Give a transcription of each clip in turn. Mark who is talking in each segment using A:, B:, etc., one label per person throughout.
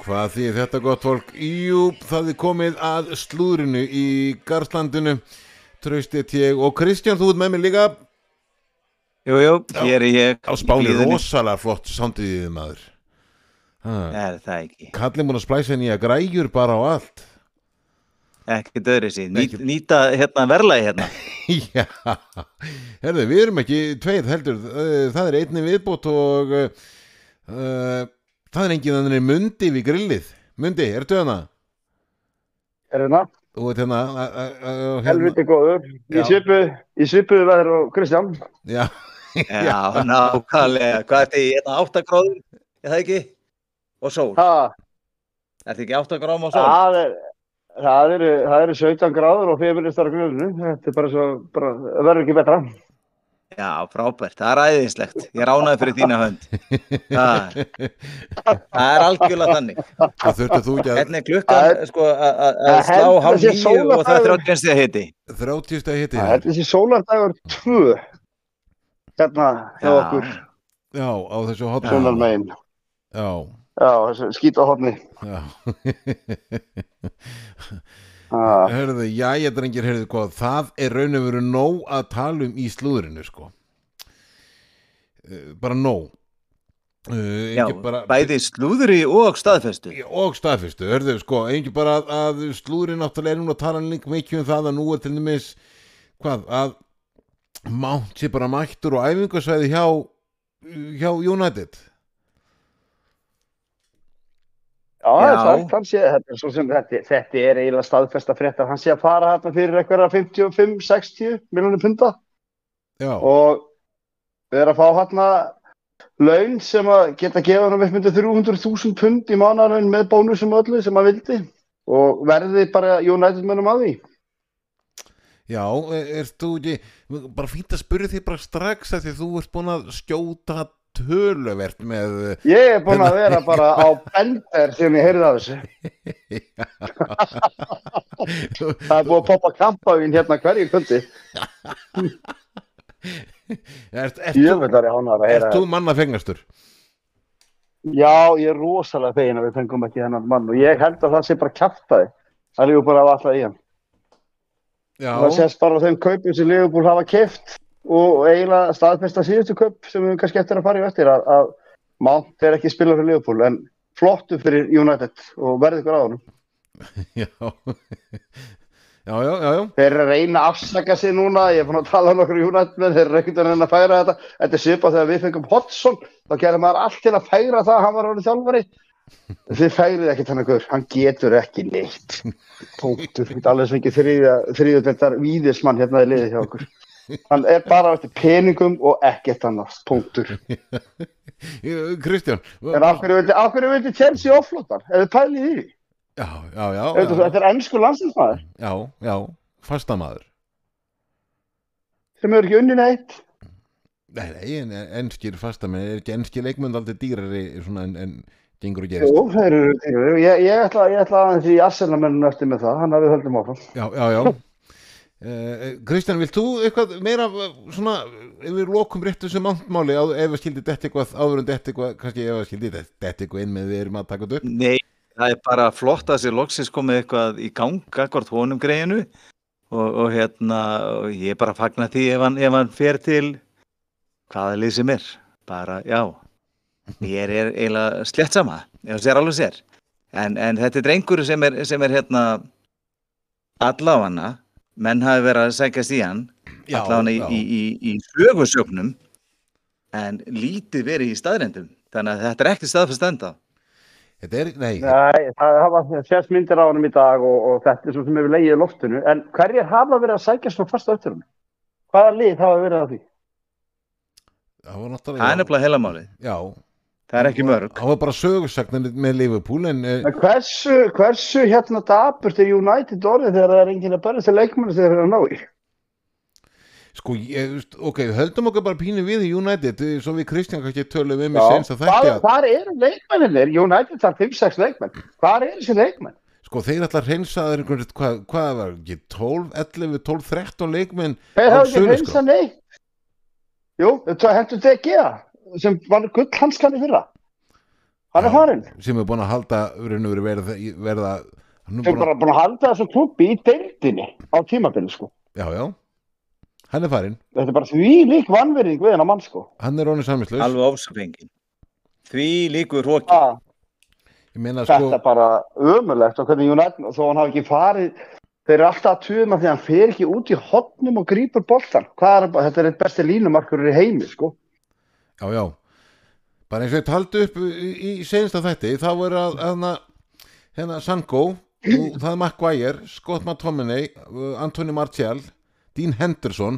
A: Hvað því þetta gott fólk? Jú, það er komið að slúðrinu í Garðlandinu Traustið ég og Kristján, þú ert með mér líka á
B: Jú, jú, hér er ég
A: spáni
B: í blíðunni.
A: rosalega flott samtíðið maður ha.
B: Er það ekki
A: Kallið múin að splæsa nýja græjur bara á allt
B: Ekki döðri sín Ný, Nýta hérna verlaði hérna
A: Já, herðu, við erum ekki tveir heldur, Eh, það er einni viðbót og uh, það er engin þannig mundi við grillið. Mundi, ertu hana?
C: Er hérna,
A: Þú ert hérna, a- a- a- hérna.
C: helviti góður,
A: Já.
C: í svipuðu, í svipuðu veður og Kristján.
A: Já,
B: Já, nákvæmlega Hvað ertu í hérna áttakróður? Er það ekki? Og sól
C: Ha,
B: Ertu ekki áttakróðum og sól?
C: það, er, það, eru, það eru 17 gráður og 5 minnistar á gruninu, þetta er bara svo, bara, það verður ekki betra.
B: Já, frábært, það er æðislegt Ég ránaði fyrir þína hönd Það, það er algjörlega þannig
A: það þurftu þú ekki að
B: Hvernig er klukkan
C: Það-
B: sko, a- a- að
C: Það
B: slá
C: heldur
B: hálf
C: sé
B: nýju og það er
C: sólardagur.
B: 30 stíða hiti
A: 30 stegi hitti
C: Það er
A: þér.
C: þessi sólardagur 2, hérna, hjá okkur,
B: Já,
A: Já, á þessu
C: svonar
A: hotnum.
C: megin.
A: Já,
C: Já, þessu skýt á hotni.
A: já.
C: Ha,
A: Herðu, já, ég drengir, herðu, hvað, það er raun og veru nóg að tala um í slúðurinu, sko. Eh, Bara nóg. Eh,
B: já
A: ekki bara-
B: bæði slúðri og staðfestu
A: og staðfyrstu, hörðu, sko, einhver bara að, að slúðurinn náttúrulega er núna að tala líka mikið um það að nú er til dæmis hvað, að Mount sé bara mættur og æfingasvæði hjá hjá United
C: Já, það er
B: Já.
C: sagt, hann sé, þetta er svo sem þetta, þetta er eiginlega staðfesta fréttar, hann sé að fara hérna fyrir eitthvað 55-60 miljonum punta.
A: Já,
C: og við erum að fá hérna laun sem að geta gefa hann um upp myndið 300.000 pund í mánarlaun með bónusum og öllu sem að vildi og verði bara United mönnum að því
A: já, erst þú ekki bara fínt að spyrja þig bara strax að því þú ert búin að skjóta töluvert með
C: ég er búin að vera bara á bender þegar ég heyrði af þessu það er búið að poppa kampavín hérna hverju kundi
A: Ert, ert,
C: ég
A: ert,
C: vil að ég hánar að heyra
A: ert þú manna fengastur?
C: já, ég er rosalega fegin að við fengum ekki hennan mann og ég held að það sé bara kæftæði það er líka bara að alltaf í hann
A: Já,
C: Það sést bara á þeim kaupum sem Liverpool hafa keft og eiginlega staðfesta síðustu kaup sem við höfum kannski eftir að fara í eftir að, að Mount er ekki að spila fyrir Liverpool en flottu fyrir United og verði ykkur á hann.
A: já Já, já, já, já
C: Þeir eru að reyna að afsaka sig núna, ég er fann að tala um okkur United menn, þeir eru ekkert að reyna að færa þetta. Þetta er svipað þegar við fengum Hodgson, þá gerði maður allt til að færa það að hann var orðið þjálfari. Þið færið ekkert hann ykkur, hann getur ekki neitt. Punktur, þetta er alveg sem ekki þriðjöldveldar víðismann hérna í liði hjá okkur. Hann er bara á eftir peningum og ekkert annars, punktur.
A: Ég- Kristján
C: En af hverju vildi, af hverju vildi Chelsea offlóttan, ef þið pælið í því?
A: Já, já, já,
C: Þetta
A: já.
C: þetta er ennsku landsinsmaður
A: Já, já, fastamaður
C: sem hefur ekki unni neitt.
A: Nei, nei, en en- enskir fastamenn er ekki enskir leikmönd aldrei dýrari svona en, en gengur og gerist
C: Jú, þeir eru, þeir eru, ég, ég ætla, ég ætla aðeins í assenamenninu eftir með það, hann hafið höldum áfram.
A: Já, já, já Eh, Kristján, vilt þú eitthvað meira eh, svona, ef við lokum rétt þessu mántmáli á- ef við skildið þetta eitthvað áður en þetta eitthvað, kannski ef við skildið þetta eitthvað inn með við erum að taka þetta upp
B: Nei, það er bara flott að sér loksins komið eitthvað í gang akkvart honum greiðinu og, og hérna, og ég er bara að fagna því ef hann, ef hann fer til hvaða lið sem er, bara já ég er, er eiginlega slett sama, ef hann sér alveg sér en, en þetta er drengur sem er, sem er hérna alláfana, menn hafi verið að sækast í hann
A: Já,
B: allan í,
A: já.
B: í, í, í sögursögnum en lítið verið í staðrendum þannig að þetta er ekki staðfæst enda
A: Þetta er, nei,
C: Nei, það hafa sérst myndir á honum í dag og, og þetta er svo sem hefur leiðið í loftinu, en hverjir hafa verið að sækja svona fast á eftir honum? Hvaða lið hafa verið að því?
A: það var náttúrulega
B: það er nefnilega heilamálið,
A: Já,
B: það er ekki mörg
A: það var bara sögursagnar með Liverpool en eh,
C: En hversu, hversu hérna dapurt er United orðið þegar það er enginn að berja til leikmennu þegar það er að ná í?
A: Sko, ég, veist, ok, höldum okkar bara pínu við í United, eh, svo við Kristján kannski tölum um í
C: Já.
A: senst að þætti
C: Hvar,
A: að,
C: hvar eru leikmenninir? United þarf 5-6 leikmenn. Hvar eru þessi leikmenn?
A: sko, þeir ætla að reynsa þeir einhvern, hvað, hvað var, ekki, 12, 11, 12, 13 leikmenn
C: Þeir
A: á
C: hafa ekki
A: sölu, sko.
C: reynsa neitt. Jú, það hendur DG sem var gullhanskan í fyrra. Hann er
A: Já.
C: farinn.
A: sem er búin að halda raun og verið verða, verða hann er
C: Þeir eru
A: búin að,
C: bara búin að halda þessum klubbi í deildinni á tímabili sko.
A: já, já, hann er farinn
C: Þetta er bara því lík vannverðing við hennar mann sko.
A: hann er honum saminslaus
B: alveg ofsafengin því líkur hróki
C: Ah,
A: ég meina
C: þetta
A: sko,
C: er bara ömulegt og hvernig United, þó hann hafi ekki farið þeir eru alltaf að tuðum að því að hann fer ekki út í hotnum og grýpur boltan Hvað er, þetta er eitt besti línumarkur í heimi sko.
A: já, já bara eins og ég taldi upp í, í sensta þætti þá er að hérna, hérna Sanko og það er Maguire, Scott McTominay uh, Anthony Martial, Dean Henderson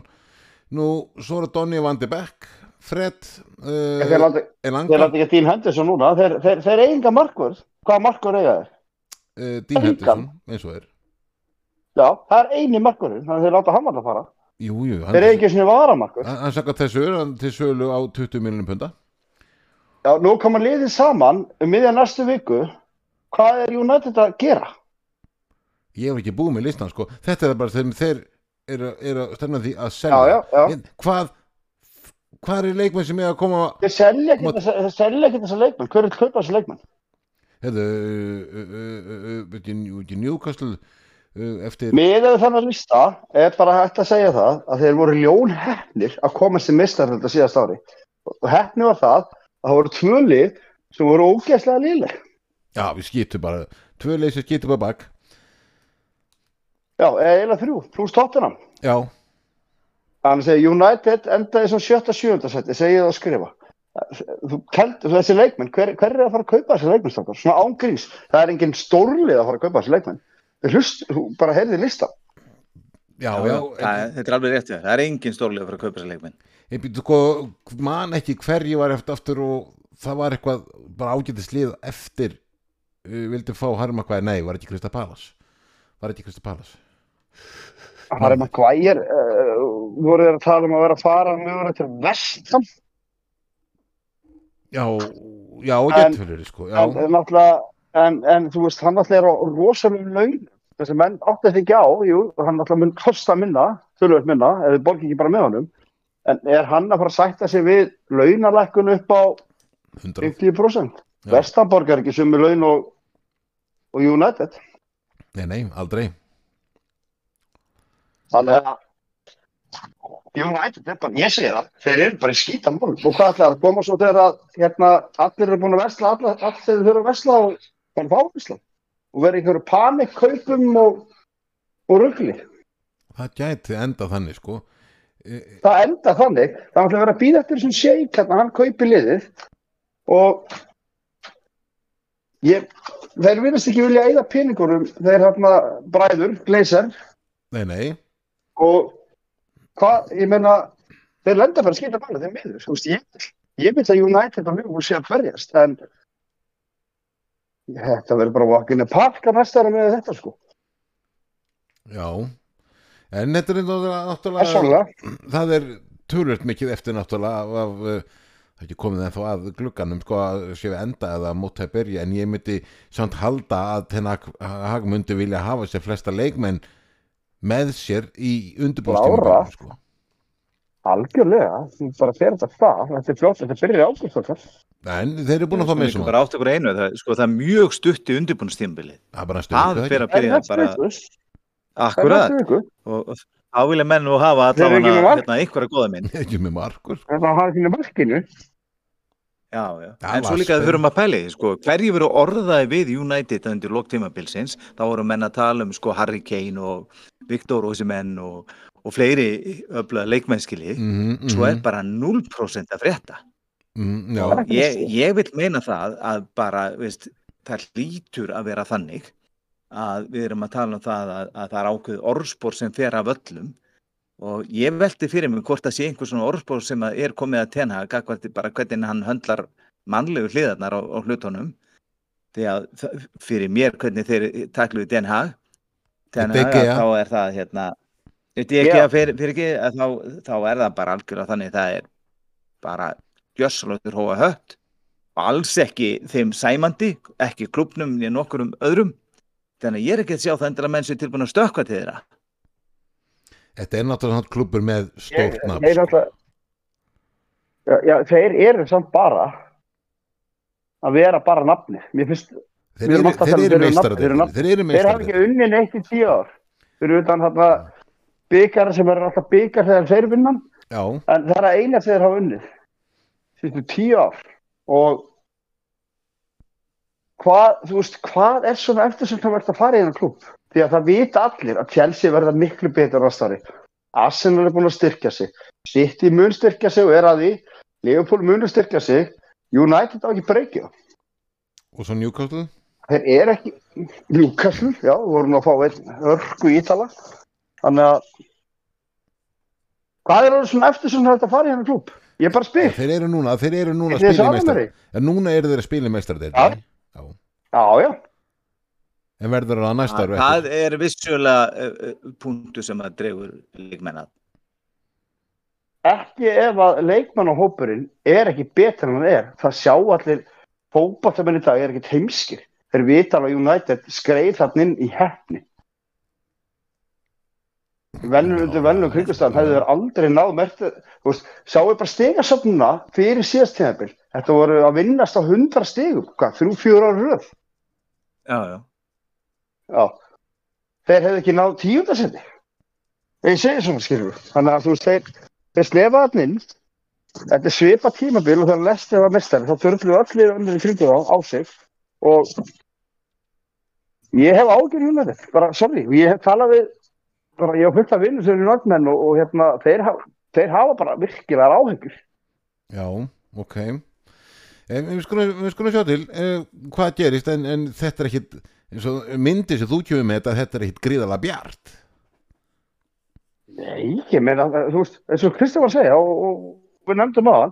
A: nú svo er að Donny Van de Beek Fred
C: En þeir
A: uh,
C: láta þeir
A: Elanga,
C: láta ekki að Dean Henderson núna þeir, þeir, þeir eiga markur, hvaða markur eiga þeir?
A: uh, Dean Henderson eins og er
C: Já, það er eini markurinn, þannig að þeir láta hann alltaf fara
A: jú, jú, hann
C: Þeir eiga ekki svona varamarkur
A: hann hann sagði þessu er hann til sölu á 20 miljonum punda
C: Já, nú koma liðið saman um miðja næstu viku hvað er United að gera?
A: ég hef ekki búið með listan sko þetta er bara þegar þeir eru er að stefna því að
C: Já,
A: selja
C: já, já.
A: En hvað hvað er leikmenn sem er að koma
C: Þeir selja ekki
A: Mot-
C: þessa- þeir selja ekki þessa leikmenn, hver er kaupa þessa leikmenn?
A: hefðu uh, uh, uh, uh, uh, út í Newcastle uh, eftir
C: Miðað við þannig að lista er bara hægt að segja það að þeir voru ljón hefnir að komast til mistar þetta síðast ári. Og hefni var það að það voru tvö lið sem voru ógeðslega liðleg.
A: já við skýtum bara tvö leysi skýtum bara bak
C: Já, eða eiginlega þrjú, pluss Tottenham.
A: já
C: Þannig að United endaði sem sjötta sjöunda seti, segi ég það að skrifa. Þú keld, þessi leikmenn, hver, hver er að fara að kaupa þessi leikmenn stokkar? Svona ángríns, það er engin stórlið að fara að kaupa þessi leikmenn. Þeir Hlust, þú bara heyrði lista.
A: já
B: Já,
A: já,
B: já, það, þetta er alveg rétt hjá þér. það er engin stórlega fyrir að kaupa sér leikmenn
A: ég býttu sko man ekki hverju var eftir aftur og það var eitthvað bara ágætis lið eftir uh, vildi fá Harma hvað nei var ekki Krista Palas var ekki Krista Palas
C: Það er maður gvægir, uh, voru þeir að tala um að vera að fara mögulega til vestam.
A: Já, já, og
C: En-
A: gettfjölur sko, já,
C: En, en, náttúrulega- en, en þú veist, hann náttúrulega er á rosalum laun. Þessi menn átti þetta ekki á, jú, hann náttúrulega mun kosta minna, þurfið minna, ef þið borgi ekki bara með honum. En er hann að fara að sætta sig við launalækkun upp á
A: 100
C: 50%.
A: Já.
C: Vestanborg er ekki sömu laun og, og United.
A: Nei, nei, aldrei
C: Þannig að United er bara, ég segi það, þeir eru bara í skítan mál. Og hvað ætlaði að koma svo þegar að hérna, allir eru búin að vesla, allir, allir þeir þurfa að vesla og bara fá vesla. Og verið einhverju panikkaupum og, og ruggli.
A: Það gæti enda þannig sko e,
C: Það enda þannig, það ætlaði að vera að býða eftir þessum shake, hérna, hann kaupi liðið og ég, þeir virðast ekki vilja eigða peningurum, þeir hérna bræður, gleysar,
A: Nei, nei,
C: og hvað, ég meina þeir lenda fyrir að skita bæla, þeir miður þú veist, ég, ég veit að United og Liverpool sé að verjast, en þetta verður bara vakinu parka næstara með þetta sko
A: já En þetta er náttúrulega náttúrulega-
C: persónulega,
A: Það er tölvöld mikið eftir náttúrulega af, af eh, það er ekki komið ennþá að glugganum sko að séu enda eða móta að byrja en ég myndi samt halda að þennan hagmundi vilja hafa sér flesta leikmenn með sér í
C: Lára.
A: undirbúðstíma sko.
C: algjörlega þú bara fer þetta það, þetta er fljótt þetta byrjar í águst okkar
A: En þeir eru búin að fá með
B: bara átt okkur einu það, sko, það er mjög stutt í undirbúinnstímbili
A: Það er bara næstu
B: það
A: viku,
B: fer
A: ekki?
B: að byrja bara
C: það er
B: akkurat
C: næstu viku
B: og og þá vilja menn nú hafa
C: Þeir eru
B: allavega
C: ekki með mark.
B: hérna, einhverja góða minn
A: ekki með markur sko.
C: en það hafa ekki með markinu
B: já, já.
A: Það var
B: en svo líka
A: spennt.
B: þau þurfum að pæli sko, hverju veru orðaði við United undir loktímabilsins, þá voru menn að tala um sko, Harry Kane og Viktor Osimenn og, og fleiri öfla leikmennskili,
A: mm -hmm,
B: svo er bara 0% að frétta
A: mm,
C: Það
A: Já,
C: er ekki
B: ég,
C: neitt.
B: ég vil meina það að bara, veist, það lítur að vera þannig að við erum að tala um það að, að það er ákveð orðspor sem fer af öllum og ég velti fyrir mig hvort það sé einhver svona orðspor sem að er komið að tenha gagvart, bara hvernig hann höndlar mannlegu hliðarnar á, á hlutunum því að það- fyrir mér hvernig þeir takluðu Den Haag Den
A: Þetta er
B: Haag
A: Gea.
B: að þá er það hérna Þetta er ekki
C: Já.
B: að fyrir, fyrir ekki að þá, þá er það bara algjörlega þannig það er bara gjössalóttur hóa hött og alls ekki þeim sæmandi, ekki klubnum niður nokkurum öðrum þannig að ég er ekki að sjá það endilega menn sem er tilbúin að stökkva til þeirra
A: þetta er náttúrulega klubur með
C: Ég-
A: stórt nafn
C: þeir
A: sko.
C: náttúrulega- Já, já, þeir eru samt bara að vera bara nafni mér finnst,
A: Þeir
C: Við erum
A: eru,
C: alltaf
A: þeir
C: að
A: eru
C: tala um þeir eru
A: meistaradeildinni
C: nafn-
A: Þeir eru
C: þeir hafa
A: meistaradeildinni
C: ekki unni neitt í tíu ár fyrir utan þarna byggar sem eru alltaf byggar þegar þeir vinnan
A: Já,
C: en það er að eina sem þeir hafa unnið síðustu tíu ár og hvað, þú veist, hvað er svona eftir sem það verður að fara í einan klub því að það vita allir að Chelsea verða miklu betur ástari Arsenal er búin að styrkja sig City mun styrkja sig og er að því Liverpool mun styrkja sig United á ekki breykja
A: og svo Newcastle
C: þeir eru ekki Newcastle, já, við vorum að fá einn örgu ítala þannig að hvað er orðið svona eftir sem það er að fara í hennar klúb ég bara spyr,
A: Þeir eru núna, þeir eru núna að
C: Þeir
A: spila í
C: eru
A: meistar
C: samari.
A: En núna eru þeir að spila í meistaradeildinni
C: já, já
A: En verður það næsta ára
B: það er vissulega uh, uh, punktu sem að dregur líkmenn að
C: ekki ef að leikmannahópurinn er ekki betur en hann er það sjá allir fótballtamenn í dag er ekkit heimskir þeir vita alveg að United skreið þarna inn í hefni vennum undir vennum kringustafan hefðu þeir aldrei náð mertu sjáu bara stegasöfnuna fyrir síðast tíðanbíl þetta voru að vinnast á 100 stegum hvað, þrjú, fjóra ára röð
B: já, já.
C: Já. Þeir hefðu ekki náð tíundasendi. Ég segi svona skilur. Þannig að þú veist, þeir, þeir slefa þarna inn. Þetta er svipa tímabil og þannig lestið var mestari. Þá þurftu allir öndur í kringu þá á sig. Og ég hef ágjörð hún að þetta. Bara, sorry. Og Ég hef talað við, bara, ég hef fullt af vinnur sem eru náttmenn og, og hérna, þeir, hafa- þeir hafa bara virkilegar áhengur.
A: Já, ok en, Við skulum, við skulum sjá til uh, hvað gerist en, en þetta er ekkit eins og myndi sem þú kjöfum með þetta þetta er ekkit gríðalega bjart
C: Nei, ég meina, þú veist, eins og Kristján var að segja og, og við nefndum á hann,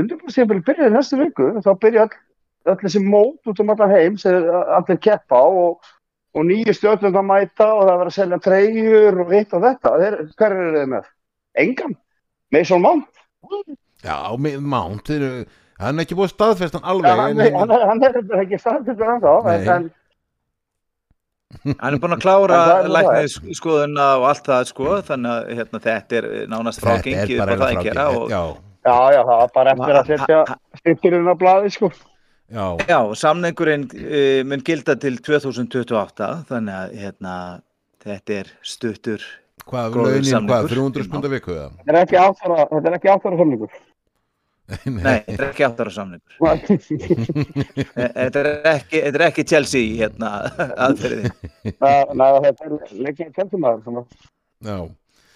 C: undirbúrstíðanbili byrjaði næstu viku, þá byrja öll, öll þessi mót út um allan heim sem allir keppa á og, og nýju stjórnum að mæta og það verður að selja treyjur og hitt og þetta. Þeir, hver eru þeir með? Engan? Mason Mount?
A: Já, með Mount þeir, eru- Hann er ekki búið að staðfesta hann
C: Ja,
A: alveg
C: hann,
A: en,
C: hann, er- hann er ekki staðfjöldur hann þá, en,
A: Nei.
C: en
B: hann er búin að
C: En það
B: klára
C: er nú
B: læknisskoðuna og allt það sko þannig að hérna, þetta er nánast frá
A: þetta er
B: gengið
A: bara
B: hvað það er að gera
A: frágengið
B: og
A: Já,
C: já, já, það var bara eftir að
B: Ha-
C: setja styrkirinn á blaði, sko.
A: já,
B: Já, samningurinn uh, mun gilda til 2028 þannig að hérna, þetta er stuttur
A: hvað
B: Góður
A: launin, hvað,
B: samningur.
A: 300 skunda viku eða?
C: Þetta er ekki áttara, þetta er ekki áttara samlingur.
B: Nei, þetta er ekki áttara samningur E- Þetta er ekki, þetta er ekki Chelsea hérna, aðferðin
C: þetta er leikjað tjöldumæður, svona.
A: Já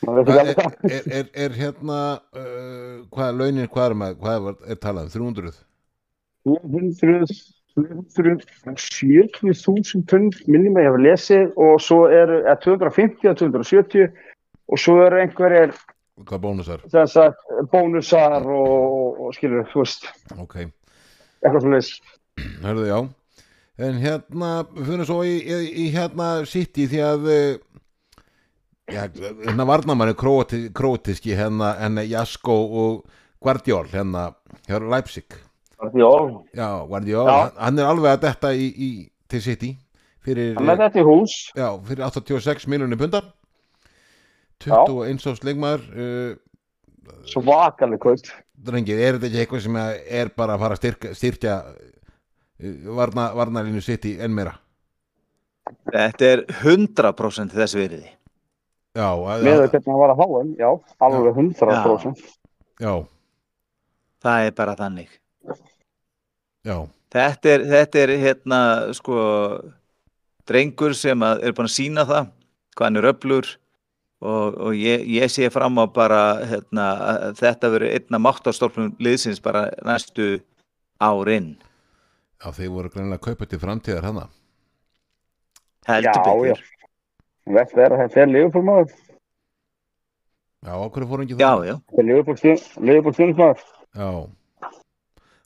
C: Maður veit
A: er,
C: ekki alveg hvað.
A: er, er, er hérna uh, hvað launin, hvað er maður hvað var, er talað um, 300
C: 270.000 pund minnum að ég hef lesið og svo eru eða 250 að 270 og svo eru einhverjir
A: hvað bónusar,
C: sem sagt, bónusar og, og skilur, þú veist,
A: ok
C: eitthvað svona leys.
A: hörðu já en hérna, fyrir svo í, í, í hérna City því að uh, já, hérna varnamann er króati, krótiski hérna, hérna Jasko og Guardiol hérna, hérna Leipzig
C: Já,
A: já, Guardiol,
C: Já.
A: Hann, hann er alveg að detta í, í, til City fyrir,
C: hann er þetta í hús,
A: já, fyrir 86 miljonir pundar 21 árs leikmaður uh,
C: svo vakaleg kvöld.
A: drengir, er þetta ekki eitthvað sem að er bara að fara að styrka, styrkja eh, varna, varnalínu sitt í enn meira
B: Þetta er 100% þess veriði
A: já, að-
C: Með
A: að-
C: hvernig hann var að fá hann, já, alveg 100%.
A: já,
B: Það er bara þannig
A: já,
B: Þetta er, þetta er hérna sko drengur sem að er búin að sína það hvað hann er öflur og, og ég, ég sé fram á bara hérna, að þetta verið einna máttarstofnum liðsins bara næstu árin
A: já, þeir voru greinlega að kaupa til framtíðar hérna. hana
B: heldur
C: Já,
B: betur
C: Vett er að þetta er liðbúlmaður,
A: já, okkur fór ekki
B: já,
A: það
B: já,
C: þetta er liðbúlstjónsmaður.
A: já,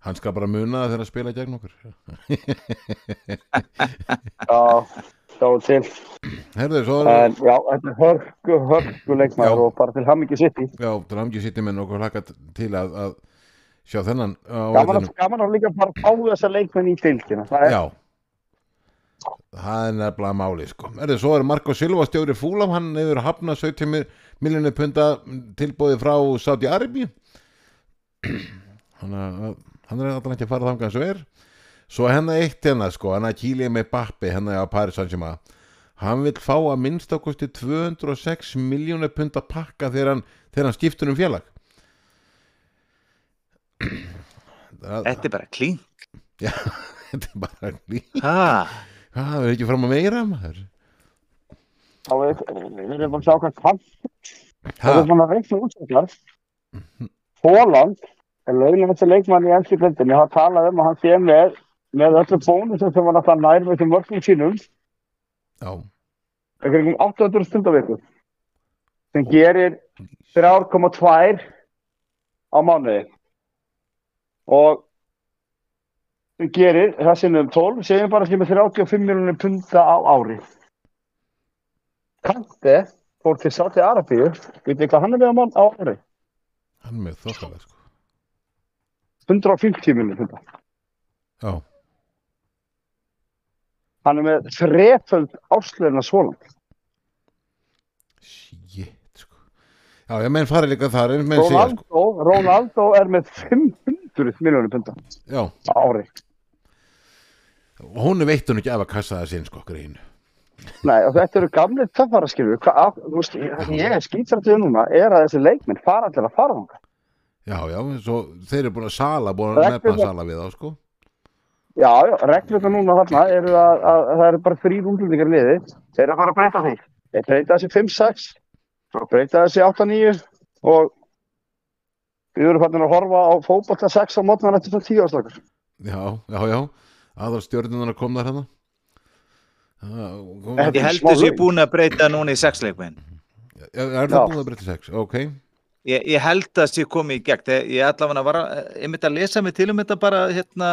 A: hann skal bara muna það þegar að spila gegn okkur
C: Já, þá til.
A: herðu, svo er
C: En já, þetta er hörku, hörku
A: Já.
C: leikmaður og bara til hamingi sitt í.
A: já, það er ekki sitt í menn okkur hlakka til að, að sjá þennan á
C: Gaman að,
A: vellinum.
C: gaman að líka bara fá þessa leikmenn í deildina. Það er,
A: já það er nefnilega máli sko. er þið svo er Marko Silva stjóri fúlam hann hefur hafnað 17 miljonu punda tilbúið frá Saudi Arabíu þannig að hann er alltaf ekki að fara þangað sem er svo hennar eitt hennar sko hann að kýlið með Bappi hennar á Paris Saint-Germain hann vil fá að minnstakosti 206 miljónu pund að pakka þegar hann, þegar hann skiptur um félag það,
B: Þetta er bara klín.
A: þetta er bara hvað,
B: Ha,
A: það er ekki fram að meira maður
C: Þá er við erum bara að sjá hvað kann. Það er
A: ha,
C: svona reikn útsæklar. Hóland er launin þessi leikmann í ennski blindinni. Hann talaði um að hann sé með, með öllu bónusum sem var alltaf nær með þessum vörfum sínum.
A: já,
C: Það er um 800 stundaviku. Sem gerir 3,2 á mánuði. Og sem gerir það sinnum 12, segjum bara sem er 35 miljonir punta á ári. Kante fór til Sáti Arabíu, veit þið hvað hann er með á mann á ári?
A: hann er með þokkalega sko
C: 150 miljonir punta.
A: já,
C: Hann er með þreföld áslöðina svoland.
A: shit sko já, ég menn fara líka þar eins menn segja sko,
C: Ronaldo, Ronaldo er með 500 miljonir punta
A: já,
C: á ári.
A: og hún veitt hún ekki af að kassa það sinn sko grín
C: Nei, og þetta eru gamli töffara skilur Hva, þú veist, það sem ég er skýtsrættið núna er að þessi leikminn fara allir að fara þangað
A: já, já, svo þeir eru búin að sala búin að
C: Reglurnar-
A: nefna sala við þá sko
C: Já, já, reglurna núna þarna eru að, að, að það eru bara þrýr útlendingar í liði þeir eru að fara að breyta því þeir breyta þessi 5-6 svo breyta þessi 8-9 og við erum fannin að horfa á fótbolta 6 á mótnar eftir svona 10 ástokkar
A: Já, já, já aðal stjórnunarna kom þar hana
C: Þetta
B: ég
C: er
B: held
C: smá
B: þessi
C: laun.
B: búin að breyta núna í sexleikmenn.
A: Er
C: Já.
A: það búin að breyta sex? Ok,
B: Ég, ég held að þessi komið í gegn. Ég, ég allavega var að, ég myndi að lesa mig til um þetta bara, hérna,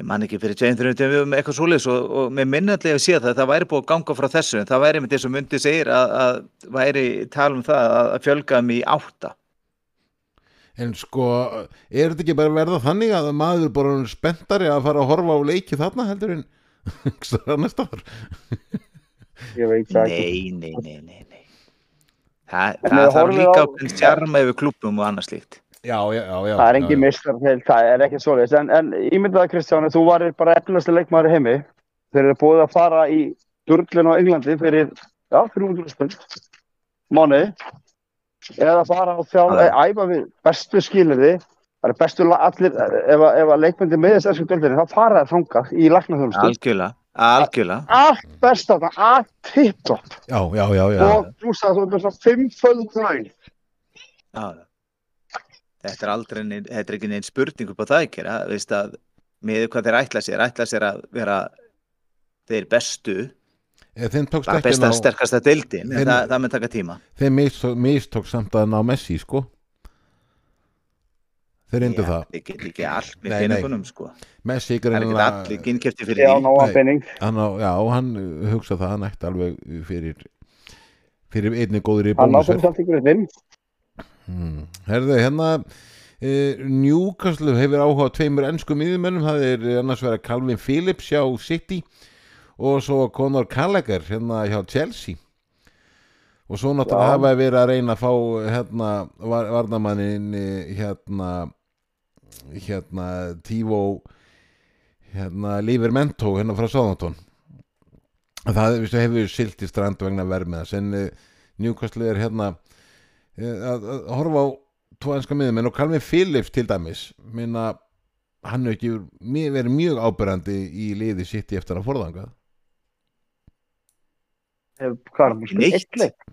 B: ég man ekki fyrir 2-3 tíma við um eitthvað svoleiðis og, og mér minnallega að sé það að það væri búið að ganga frá þessu en það væri með þessu myndi segir að, að væri tala um það að, að fjölga um í átta.
A: en sko er þetta ekki bara að verða þannig að maður er bara orðinn spenntari að fara að horfa á leiki þarna heldur en hugsaðu næsta ár
C: Ég veit það
B: Nei,
C: ekki
B: nei, nei, nei, nei. Þa,
C: En
B: það
C: ef
B: þarf
C: horfið
B: líka
C: á-
B: okkur sjarma yfir klúbum og annað slíkt.
A: Já, já, já, já
C: Það er
A: já,
C: engin
A: já.
C: mistar til, það er ekki svoleiðis. En, en ímyndaði Kristján, þú varir bara efnilegsti leikmaður í heimi. Þeir eru búið að fara í Durglun á Englandi fyrir, já, 300 spund, mánuði. Eða fara á þjá,
B: Já.
C: eða æfa við bestu skilirði. Það eru bestu la- allir, ef, að- ef að leikmyndi með þess ersku döldinni, þá fara þær þangað í læknaþjónustu.
B: Algjörlega, algjörlega.
C: Allt besta þarna, allt tipptopp.
A: já, já, já, já.
C: Og þú sagði þú erum svona fimmföld raun.
B: Já, já. Þetta er aldrei, neinn- þetta er ekki neinn spurning upp á það ekki, það veist að með hvað þeir ætla sér, ætla sér að vera þeir bestu,
A: En Þeim Eh, tókst
B: bara
A: ekki
B: besta,
A: að ná
B: sterkasta deildin,
A: Þeir-
B: en það, það með taka tíma.
A: Þeim mistók, mistókst samt að ná Messi sko Þeir reyndu
B: Já,
A: það
B: Þeir get ekki allt með
A: Nei, nei.
B: peningunum, sko.
A: Messi
B: Það er ekki
A: greinlega
B: allir innkjöfti fyrir
C: Já,
B: því.
C: ná
A: Nei.
C: að penning.
A: hann á, já, hann hugsa það hann ætti alveg fyrir fyrir einni góður í
C: Hann á
A: bónusverð
C: fyrir allt í grunninn.
A: hmm. herðu, hérna e, Newcastle hefur áhuga á tveimur ennskum yðmönnum, það er annars vera Calvin Phillips hjá City og svo Conor Gallagher hérna hjá Chelsea og svo náttúrulega
C: Já.
A: hafa verið að reyna að fá hérna var, varnamannin hérna hérna Tivo hérna Livermento hérna frá Sáðantón það er- vissu, hefur silt í strand vegna vermiðas en eh, Newcastle er hérna eh, að, að horfa á tvo enska miðumenn og Calvin Phillips til dæmis minna hann hefur ekki mjög- verið mjög ábyrrandi í liði sitt eftir að forðanga
C: Hvað er hann?
B: Ekki neitt.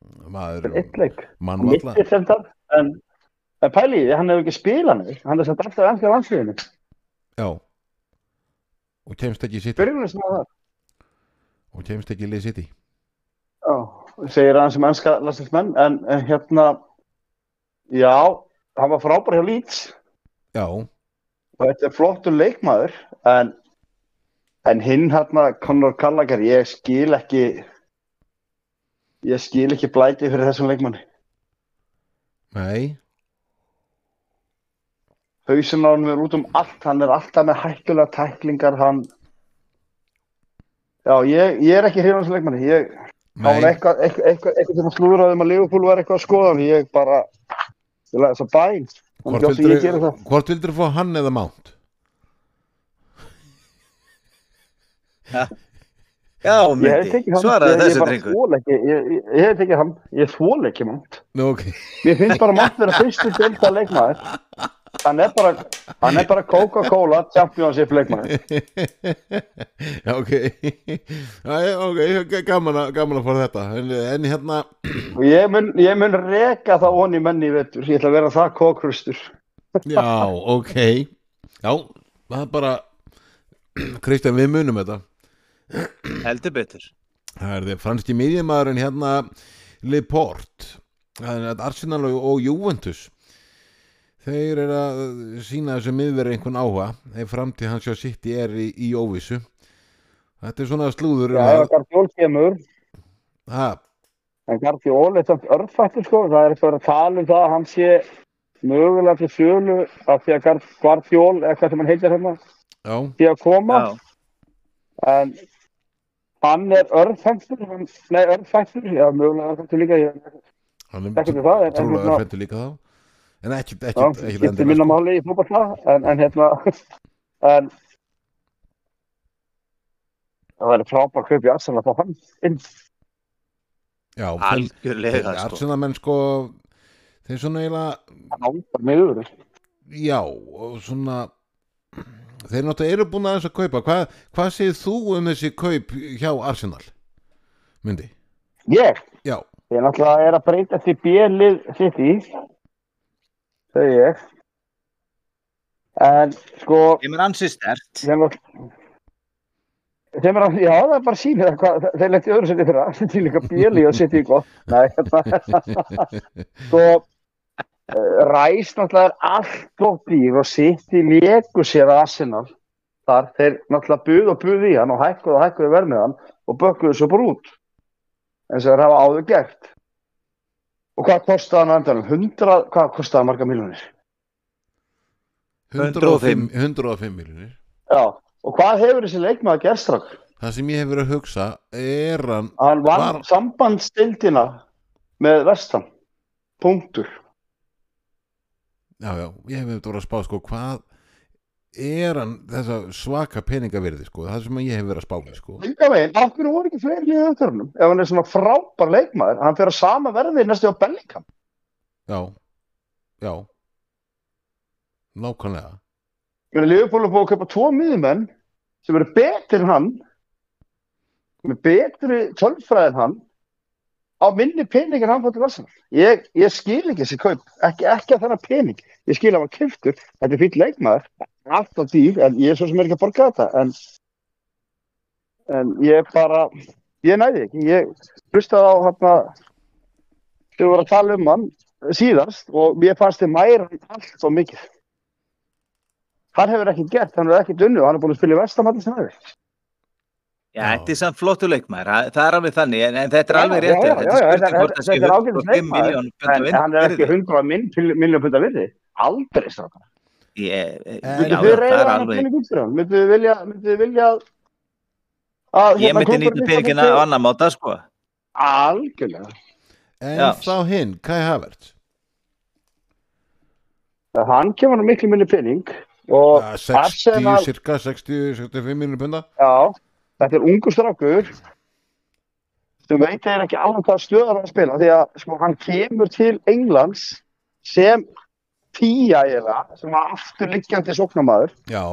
C: Eitt leik,
A: maður
C: eitt leik.
A: mann valla
C: Mittir sem það en, en pæli, í því, hann hefur ekki spilað neitt hann er samt alltaf ennska landsliðinu
A: já og kemst ekki í sitt
C: byrjunum sem það
A: og kemst ekki í liði sitt
C: Já, segir hann sem ennska landsliðsmenn en, en hérna já, hann var frábær hjá Leeds
A: já,
C: og þetta er flottur leikmaður en, en hinn hérna Conor Gallagher, ég skil ekki ég skil ekki blæti fyrir þessum leikmanni
A: nei
C: hausin á hann er út um allt hann er alltaf með hættulega tæklingar hann já, ég, ég er ekki hrifan sem leikmanni ég, það var
A: nei,
C: eitthvað eitthvað, eitthvað, eitthvað sem að slúðraði um að Liverpool var eitthvað að skoða hann ég bara, ég laði þess að bæn Hvort vildur ég gera það?
A: hvort vildur fá hann eða Mount?
B: Já,
C: Ég hef
B: myndi,
C: tekið hann.
B: svaraði
C: Ég-
B: þessi drengur.
C: Ég, bara þoli ekki- ég, ég, ég hef tekið hann. Ég þól ekki mátt.
A: Nú, ok.
C: Mér finnst bara mátt vera fyrstu delta leikmaður. Hann er bara, hann er bara Coca-Cola championship leikmaður.
A: Já, ok. Já, já, ok, g- gaman að, gaman að fara þetta. En, en hérna,
C: Og ég mun, ég mun reka það onni menni í vetur. Ég ætla að vera það kókrustur.
A: já, ok. Já, það er bara, Kristján, við munum þetta.
B: Heldur betur.
A: Það er þið franski miðjumæðurinn hérna Leport Arsenal og- og Juventus Þeir eru að sína þessu miðverið einhvern áhuga ef framtíð hans hjá City er í, í óvissu Þetta er svona slúður um
C: Já, ef að Gardiól kemur,
A: ha,
C: en Gardiól er samt örfættur sko, það er eitthvað að tala um það að hann sé mögulega til sölu af því að Gar- Gardiól, eða hvað sem hann heitir hérna,
A: já,
C: því að koma,
B: Já,
C: en hann er örfættur, hann, nei örfættur, já, mögulega örfættur líka, ég
A: hann
C: Ekki til það, en- en
A: trúlega
C: hérna-
A: fættu líka þá En ekki, ekki,
C: já,
A: ekki,
C: skiptir minna
A: sko.
C: máli í fótballa, en, en hérna, en það væri frábært kaup í Arsenal að fá hann inn.
A: Já, þeir-
B: algjörlega,
A: þeir-
B: sko.
A: Arsenal menn sko þeir svona eiginlega
C: Hann ándar með öður.
A: Já, og svona þeir náttúrulega eru búin aðeins að kaupa Hva, hvað segir þú um þessi kaup hjá Arsenal? Myndi,
C: Ég?
A: já,
C: Ég náttúrulega er að breyta því bjelið sitt í, segi ég. En sko,
B: Ég menn ansið stert.
C: sem, sem er að, já það er bara sýnir að hvað, þeir lenti í öðru sinni fyrir að, því líka bjelið og sitt í gott. Nei, hérna. þetta, sko, eh, ræs náttúrulega er allt og dýr og sitt í leku sér að Arsenal. Þar, þeir náttúrulega buð og buð í hann og hækkuðu og hækkuðu verð með hann og bökkuðu svo bara út. En sem þeir hafa áður gert. Og hvað kostaði hann á endanum? 100, hvað kostaði hann marga miljónir?
A: 105 105 miljonir
C: Já, og hvað hefur þessi leikmaður gert strakk?
A: Það sem ég hef verið að hugsa er hann
C: Hann vann
A: Var-
C: sambandstildina með vestan. Punktur.
A: Já, já, ég hef verið að spá sko hvað er hann þessa svaka peningavirði sko, það sem ég hef verið að spá mig, sko.
C: Enga veginn, af hverju voru ekki fleiri liðið öðvörunum? Ef hann er svona frábær leikmaður, hann fyrir að sama verði næstu á Bellingham.
A: Já, já Nákvæmlega
C: Ég meina, Liverpool er búið að kaupa tvo miðjumenn sem eru betri en hann, með betri tölfræði en hann, á minni pening en hann fór til Arsenal. Ég, ég skil ekki þessi kaup, ekki, ekki að þennan pening. Ég skil að hann var kiftur, þetta er fýll leikmaður, allt á dýr, en ég er svo sem er ekki að borga þetta, en, en ég bara, ég næði ekki. Ég hlustaði á hann að, þau voru að tala um hann síðast og mér fannst þið mæra allt og mikið hann hefur ekkert gert, hann hefur ekkert unnið og hann er búin að spila í vestamallin sem hefur
B: Já,
A: Já.
B: þetta er samt flottu leikmaður, það- það er alveg þannig, en, en þetta er
C: Já,
B: alveg
C: já,
B: rétt.
C: já,
B: þetta er
C: já, já,
B: spurning
C: þetta-
B: hvort það sé
C: þetta er ágætis
B: 105
C: leikmaður,
B: milljónum
C: en
B: punda
C: hann er ekki
B: virði.
C: 100 miljón pundar virði aldrei strákar
B: Ég- ég-
A: En- Myndu
B: já, já,
C: myndið þið
B: það
C: reyða
B: er
C: hann að
B: alveg.
C: pening út fyrir hann myndið þið vilja, myndið þið vilja að- að hérna,
B: Ég myndi
C: klúbburinn
B: nýta
C: ykkar
B: peningina
C: myndi-
B: á annan máta, sko.
C: algjörlega,
A: En
B: Já.
A: þá hinn, Kai Havertz
C: hann kemur nú miklu minni pening og
A: Ja, 60,
C: Arsenal
A: cirka 60, 65 miljonir punda
C: já, þetta er ungu strákur sem veit þeir ekki alveg hvað stöðar hann spila því að sko, hann kemur til Englands sem tíja eða sem var afturliggjandi sóknamaður
A: Já,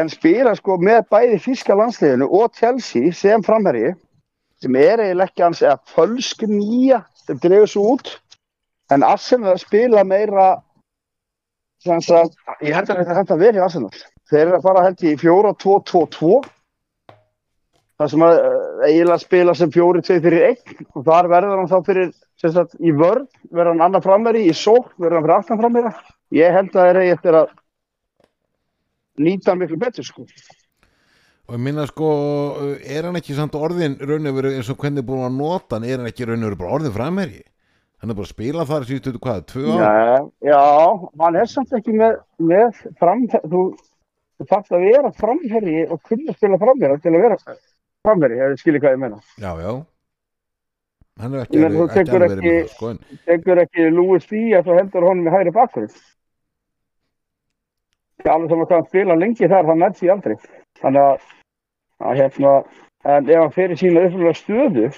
C: en spila sko með bæði físka landsliðinu og Chelsea sem framherji sem er eiginlega ekki hans eða fölsk nýja sem dregur svo út en Arsenal er að spila meira sem sagt, ég held að þetta hægt að vera í Arsenal þeir eru að fara held ég í 4-2-2-2 það sem að eh, eiginlega spila sem 4-2-3-1 og þar verður hann þá fyrir sem sagt, í vörn verður hann annar framherji í sók verður hann fyrir aftan framherja ég held að þeir eru eftir að nýta hann miklu betur sko
A: Og ég minna sko, er hann ekki samt orðin raunöfuru eins og hvernig er búin að nota hann, er hann ekki raunöfuru bara orðin framherji? Hann er bara að spila þar síðustu hvað, tvö ár?
C: Nei, já, hann er samt ekki með, með framherri, þú, þú þarft að vera framherri og kunna spila framherri til að vera framherri, ef þið skilir hvað ég menna.
A: Já, já, hann er
D: Ég
A: ekki
D: meina,
A: alveg,
D: þú
A: ekki
D: tekur
A: alveg verið með
D: ekki-
A: það sko, en
D: tekur ekki Lewis Díaz og heldur honum í hægri bakgrunn það er alveg sem að hann spila lengi þar það nær því aldrei þannig að, að hérna, en ef hann fyrir sína upplega stöðu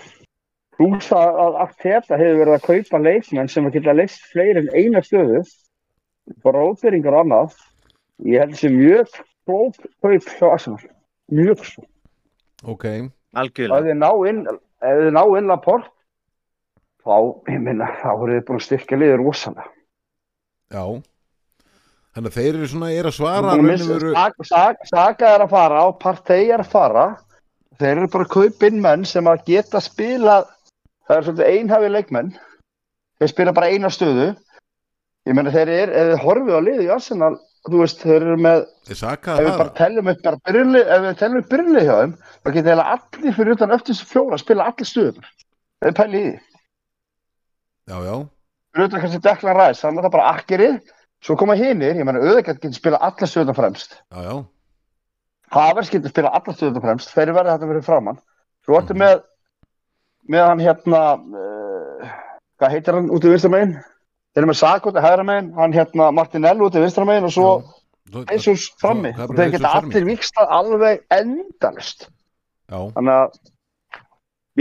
D: rúsa að allt þetta hefur verið að kaupa leikmenn sem að geta leist fleiri en eina stöðu bara óbyrringar og annað ég held þessi mjög klók kaup hjá Arsenal mjög svo
A: ok,
D: Alveg.
B: algjörlega
C: ef þið ná inn ef þið ná inn að port þá, ég minna, þá voru þið búin að styrkja liður rosalega.
A: já þannig að þeir eru svona, er að svara
C: Búin að
A: raun og
C: missa-
A: veru-
C: Sag- sag- Saga er að fara og partei er að fara þeir eru bara að kaupa inn menn sem að geta spila það er svolítið einhafi leikmenn þeir spila bara eina stöðu ég meina þeir eru, ef þið horfið á liðu í Arsenal, þú veist, þeir eru með
A: þeir saka
C: ef
A: að
C: við bara
A: fara
C: teljum upp bara byrli, ef við teljum upp byrli hjá þeim þá geta eiginlega allir fyrir utan eftir þessu fjóra spila allir stöðum ef við pæli í því
A: já, já,
C: fyrir utan kannski Declan Rice þannig að það er bara akkerið svo koma hinir ég meina auðvitað getur spila alla stöðum fremst
A: já, já
C: Havers getur spila alla stöðum fremst þeir verða þetta fyrir framann svo
A: Mhm.
C: ertu með með hann hérna uh, hvað heitir hann út í vinstramegin þeir eru með Sack út í hægra megin hann hérna Martinell út í vinstramegin og svo
A: já, svo-
C: Jesus frammi
A: Gabriel
C: og þeir geta
A: Jesus frammi.
C: allir vikstað alveg endalust
A: já,
C: þannig að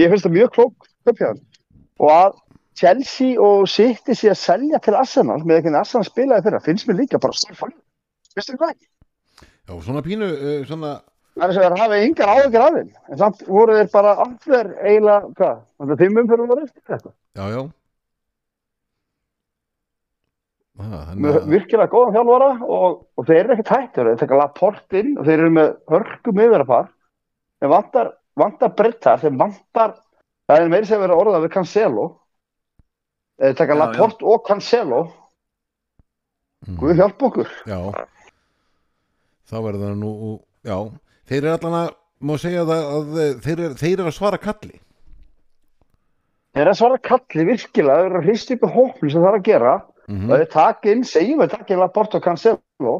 C: ég finnst það mjög klók köpjáðan og að Chelsea og City sé að selja til Arsenal með ekki en Arsenal spilaði fyrir finnst mér líka bara stórfang finnst þér hvað ekki?
A: já, svona pínu uh, svona,
C: Það er þess að það hafa yngar áhyggjur af þeim en samt voru þeir bara allir eiginlega hvað, þannig að þeim umfyrir var eftir þetta
A: já, já Ah, þannig
C: með
A: að-
C: virkilega góðan þjálfara og, og þeir eru ekkert hættur, þeir taka laport inn og þeir eru með hörkum yfirapar þeir vantar, vantar brettar þeir vantar, það er meiri sem verið orðað við Cancelo þeir taka
B: Já,
C: laport og Cancelo
A: Mhm.
C: Guð hjálp okkur
A: Já Þá verður það nú Já, þeir eru allan að má segja það að þeir eru, þeir eru að svara kalli
C: þeir eru að svara kalli virkilega þeir eru að hrista upp í hópin sem það er að gera
A: mm
C: og þeir taka inn, segjum við taka inn laport og Cancelo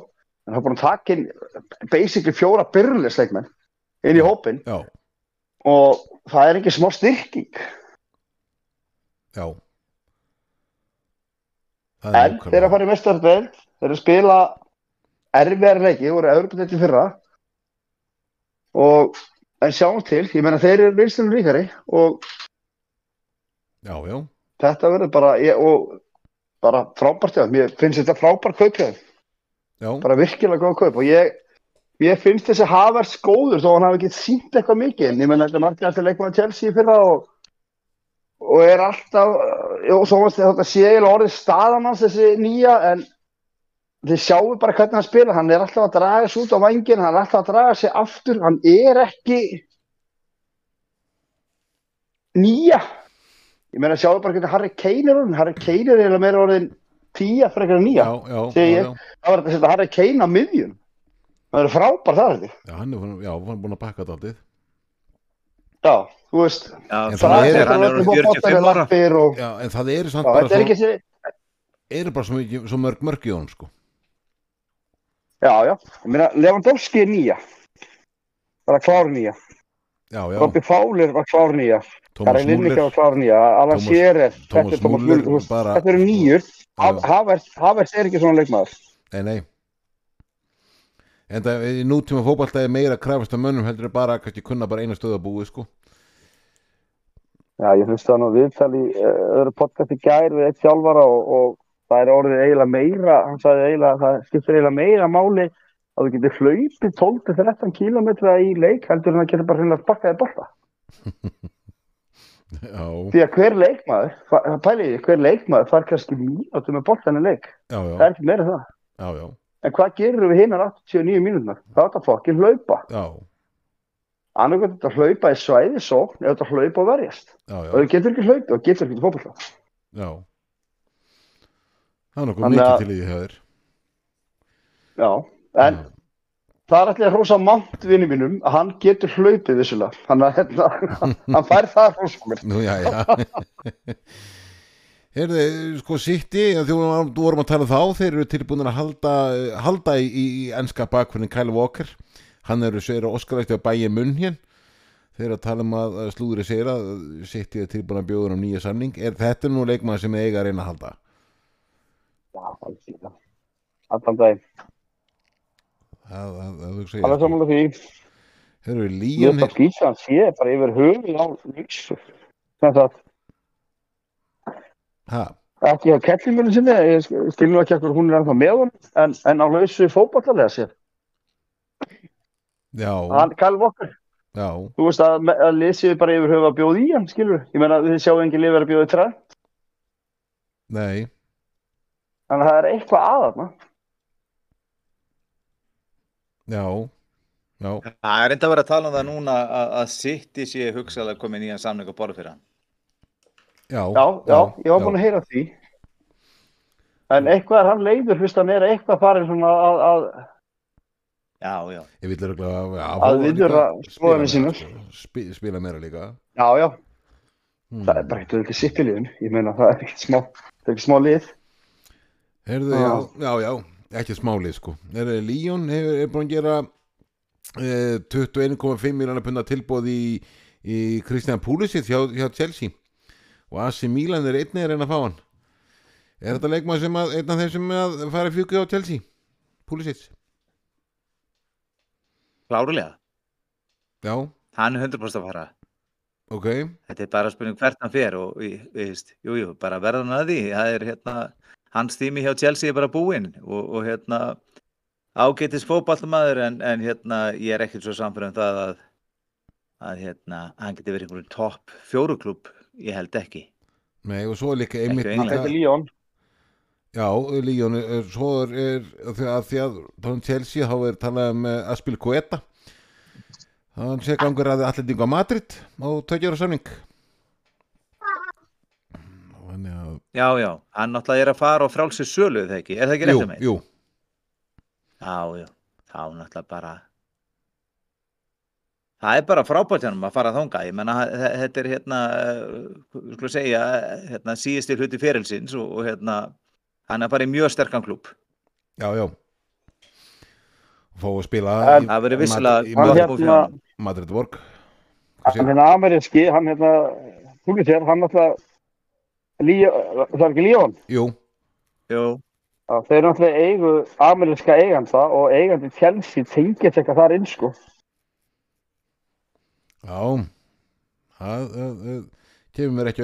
C: en það er búin að taka inn basically fjóra byrjulegsleikmenn inn í hópin
A: Já,
C: og það er ekki smá styrking
A: já Það
C: En
A: nákvæmlega-
C: þeir eru að fara í mestardeild, þeir eru að spila erfiðar leiki, þeir voru Evropadeildi fyrra og en sjáum til, ég meina þeir eru vinstunum ríkari og
A: Já, já,
C: þetta verður bara ég, og bara frábært hjá þeim, ég finnst þetta frábært kaup hjá þeim,
A: já,
C: bara virkilega góð kaup og ég, ég finnst þessi Havers góður þó hann hafi ekki sínt eitthvað mikið en ég meina þetta margir alltaf leikmaður Chelsea í fyrra og og er alltaf og svo varst þetta sé ég orðið staðan hans þessi nýja en þið sjáu bara hvernig hann spila hann er alltaf að draga sig út á vangin hann er alltaf að draga sig aftur hann er ekki nýja ég meina sjáu bara hvernig Harry Kane er orðin Harry Kane er eiginlega meira orðin tíja frekar en nýja
A: já, já, já,
C: segi
A: já,
C: ég. það var þetta að setja Harry Kane á miðjum það er frábær þar þetta
A: já, hann er búin- já, hann er búin að pakka þetta aldrei
C: já, þú veist
A: En
B: Já,
A: það
B: það
A: er-
B: er hann er orðinn 45 ára
C: ára og,
A: Já, en það eru samt
C: já,
A: bara
C: þetta er
A: svo,
C: ekki þessi
A: eru bara svo, mikið, svo mörg mörg í honum sko
C: Já, já, ég meina Lewandowski er nýja bara klár nýja,
A: Já, já,
C: Robby Fowler var klár nýja
A: Thomas
C: Karin Linnike var
A: Múlir
C: klár nýja Alan
A: Thomas-
C: Shearer, þetta
A: Thomas
C: er Thomas
A: Müller
C: Müller þú veist,
A: bara-
C: þetta eru nýjur
A: Já.
C: Ha- Havertz Havertz er ekki svona leikmaður
A: Nei, nei En það í nútíma fótballtaði meira að krafast af mönnum heldur er bara að kannski kunna bara eina stöð að búi sko
C: Já, ég hlusta hann á viðtal í eh, öðru podcast í gær við eitt sjálfara og, og það er orðið eiginlega meira hann sagði eiginlega, það skiptir eiginlega meira máli að þú getur hlaupið 12-13 kílometra í leik heldur en að geta bara hreinlega sparkaði bolta
A: Já,
C: því að hver leikmaður, fa- pæliði, hver leikmaður far kannski mínútu með boltan í leik
A: já, já,
C: það er ekki meira en það.
A: já, já,
C: En hvað gerir við hinnar 89 mínúturnar? Það er þetta fokkin hlaupa.
A: já.
C: Annarkvæmt þetta hlaupa í svæði svo, eða þetta hlaupa og verjast.
A: já,
C: Og
A: já,
C: þú getur ekki hlaupa og getur ekki fókbalta.
A: já það er nokkuð
C: Þannig
A: mikið
C: að-
A: til í því hjá þér
C: Já, en
A: Já.
C: það er allir að hrósa mant vinni mínum að hann getur hlaupið vissulega. Hann, að, hérna, hann fær það að hrósa mér.
A: nú já, já Heyrðu, sko City, að því vorum, þú vorum að tala um þá, þeir eru tilbúin að halda, halda í, í, í enska bakvörðin Kyle Walker, hann eru sveira óskarætti á bæja munn hér, þeir þeir að tala um að að slúðri segir að sitt ég tilbúin að bjóða um nýja samning er þetta er nú leikmaður sem eiga að reyna að halda
C: Já, alveg síðan. Allan daginn.
A: það, það, það hugsa
C: Alveg
A: ég
C: samanlega því.
A: Þeir eru
C: Ég er
A: Líon
C: bara skýt sem hann sé, bara yfir höfum á líksu. Þannig að
A: ha,
C: ekki á kellingunni sinni, ég sk- skil nú ekki akkur hún er ennþá með hann, en, en á lausu fótballalega sér.
A: Já,
C: Hann, Kyle Walker,
A: já,
C: þú veist að, me- að lýsið bara yfir höfum að bjóða í hann, skilur. Ég meina, þið sjáu engin lifið að bjóða í træð,
A: nei
C: þannig að það er eitthvað aðarna.
A: Já, já,
B: Það er enda að vera að tala um það núna að, að City sé hugsaðlega komið nýjan samning að borða fyrir hann.
A: já
C: Já, já, ég var búin að heyra því. En eitthvað er hann leiður, fyrst hann er eitthvað farin svona að, að
B: Já, já.
A: Ég vil örgulega að, að,
C: Að viðra skoðanir sínar.
A: spila, spila meira líka
C: já, já,
A: hmm.
C: það er bara eitthvað ekki sitt í liðun. Ég meina, það er ekkert smá, það er ekki smá lið.
A: Herðu, já,
C: Ah.
A: já, já, ekki smálið sko Herðu, Líón hefur, er búin að gera eh, 21,5 miljana punda tilbúð í, í Kristján Púlisitt hjá, hjá Chelsea og AC Milan er einnig að reyna að fá hann Er þetta leikmaður sem að, einn af þeim sem að fara í fjúki á Chelsea? Púlisitt,
B: Klárulega.
A: já,
B: Hann er 100% að fara.
A: ok
B: Þetta er bara spurning hvert hann fer og, ég- ég veist, jú, jú, bara verða hann að því. Það er, hérna, hans tími hjá Chelsea er bara búinn og, og hérna, ágætis fótballmaður en, en, hérna, ég er ekkert svo samfyrir um það að, að, hérna, hann geti verið einhverjum topp fjóruklúb. Ég held ekki.
A: Nei, og svo er líka einmitt
B: Ekki
A: líka-
C: Þetta er Líón.
A: Já, Líón, er- er- svo er, er af því að því að tónum Chelsea þá er talað um uh, Aspil Guetta hann sé gangur að allitingu á Madrid á tökjara samning Þannig að
B: Já, já. Hann náttúrulega er að fara og frálsir sölu, er það ekki? Er það ekki
A: Jú,
B: rétt um mig?
A: jú,
B: Já, já, þá náttúrulega bara Það er bara frábært hennum að fara þangað, ég menna þetta er hérna, við skulum segja, eh, hérna síðasti hluti ferilsins og, og hérna, hann er að fara í mjög sterkan klúb.
A: já, já Fá að spila í-
C: En-
B: Það verður
A: í
B: vissilega
A: Madrid- í
B: gott
C: Hann
A: Madrid-
B: búið
C: hérna-
B: fyrir hann.
A: Madrid Borg Hvað
C: Hann
A: segir-
C: hérna ameríski, hann hérna, Púlitér, hann náttúrulega, Líó- það er ekki Líón.
A: Jú,
B: Jú,
C: Já, þeir náttúrulega eigu ameríska eiganda og eigandi Chelsea tengið eitthvað þar inn, sko.
A: já Það það- það kemur mér ekki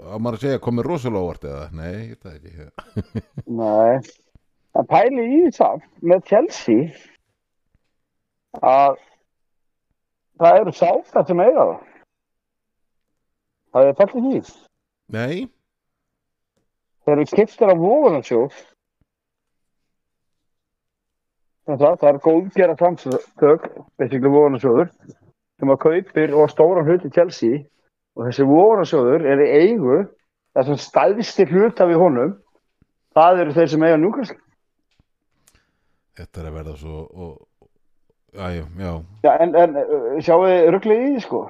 A: að maður að segja komið rosalega óvart eða, nei, ég veit það ekki
C: Nei. En pæli í það með Chelsea að það eru sáfætt sem eiga það. Það er fælt ekki í.
A: Nei,
C: Þeir eru skiptir af vogunarsjóð. Það, það er góðgera samtök, basically vogunarsjóður, sem að kaupir og stóran hluti Chelsea og þessi vogunarsjóður er í eigu þessum stæðstir hluta við honum. Það eru þeir sem eiga njúkvæmst.
A: Þetta er að verða svo og, Æjú, já
C: Já, en, en uh, sjáu þið rugglið í því, sko.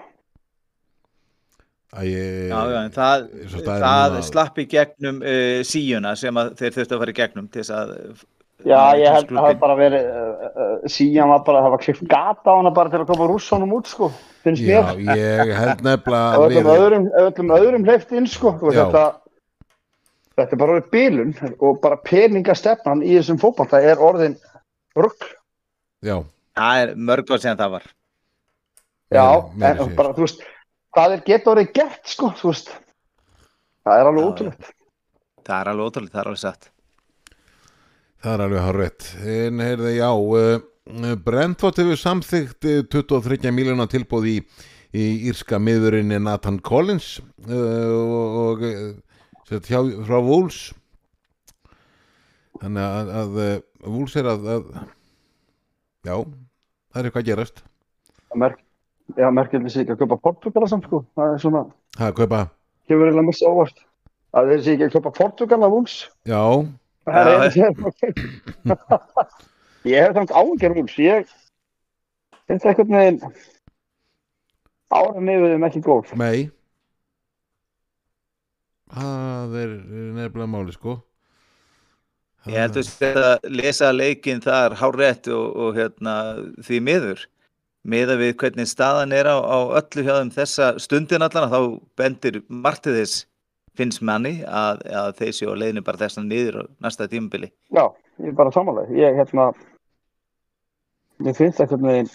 A: Æjú,
B: já, já, en það,
A: svo staðir
B: það
A: núna að-
B: slapp í gegnum uh, síuna sem að þeir þurftu að fara í gegnum til þess að,
C: Já,
B: Já,
C: ég held að það
B: klúbbinn.
C: hafi bara verið, uh, uh, síðan var bara, það var klikt gata á hana bara til að koma rússónum út, sko. Finnst
A: já,
C: mér.
A: ég held nefnilega
C: og
A: að
C: öllum
A: liðið-
C: öðrum, öllum öðrum hleyft inn sko og
A: Já.
C: þetta þetta er bara orðið bílun og bara peningastefnan í þessum fótballta er orðin rugg
A: Já,
B: það er mörg á sem það var.
C: já,
A: meira sko.
C: en
A: sé.
C: bara þú veist það er geta orðið gert sko þú veist það er alveg
B: Já,
C: ótrúlegt
B: Það er alveg ótrúlega, það er alveg satt.
A: það er alveg hár rétt En heyrði, já uh, Brentford hefur samþygt eh, 23 miljóna tilbúð í, í írska miðurinn Nathan Collins uh, og, og eh, sett hjá, frá Wolves Þannig að, að eh, Wolves er að, að Já, það er eitthvað að gerast
C: það merk, já, merkjöldi sig ekki að köpa portugala samt sko það er svona,
A: Það er kaupa,
C: kemur eiginlega mest óvart að þeir sig ekki að köpa portugala vúls
A: já
C: það
B: Já. eh.
C: er einu sem ég hef samt áhengjur vúls ég finnst eitthvað með ára nefið um ekki góð
A: Nei Það er er nefnilega máli sko
B: Ég held að þetta að lesa leikinn þar hárétt og, og hérna, því miður meða við hvernig staðan er á, á öllu hjá þeim þessa stundin allan að þá bendir Martiðis finnst manni að, að þeir séu á leiðinu bara þessna niður á næsta tímabili
D: Já, ég er bara samanlega. Ég, hérna, mér finnst eitthvað með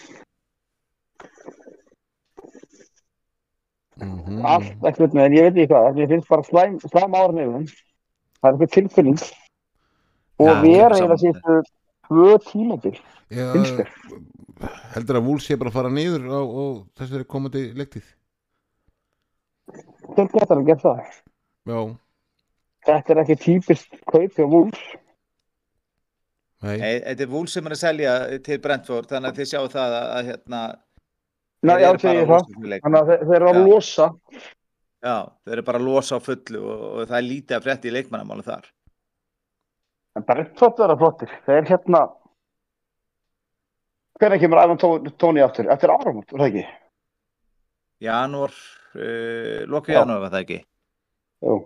B: Mm.
A: Mhm.
D: allt eitthvað með, ég veit ekki hvað, mér finnst bara slæm, slæm árin yfir þeim. Það er eitthvað tilfinning og
B: Já,
D: við
B: ég er
D: erum eiginlega
B: sammála.
D: síðustu tvö tímabil,
A: Já,
D: finnst þér?
A: heldur að Wolves sé bara að fara niður á, á þessari komandi leiktið
D: Þeir getur að gera það.
A: Já,
D: Þetta er ekki típist kaup hjá Wolves.
A: nei,
B: Nei, Þetta er vúl sem er að selja til Brentford þannig að þið sjáu það að, að hérna
D: Nei,
B: þeir
D: já,
B: eru bara
D: segi
B: að
D: ég það.
B: losa fyrir leikmenn.
D: Þannig að þeir, þeir eru að
B: Já.
D: losa.
B: Já, þeir eru bara að losa á fullu og, og það er lítið að frétti í leikmannamálum þar
D: En bara
C: Þetta er að flottir.
D: þeir hérna,
C: Hvernig kemur Ivan Tóni aftur? Eftir áramót, er það ekki?
B: Janúar, uh, loka
D: Já.
B: janúar var það ekki
D: jú,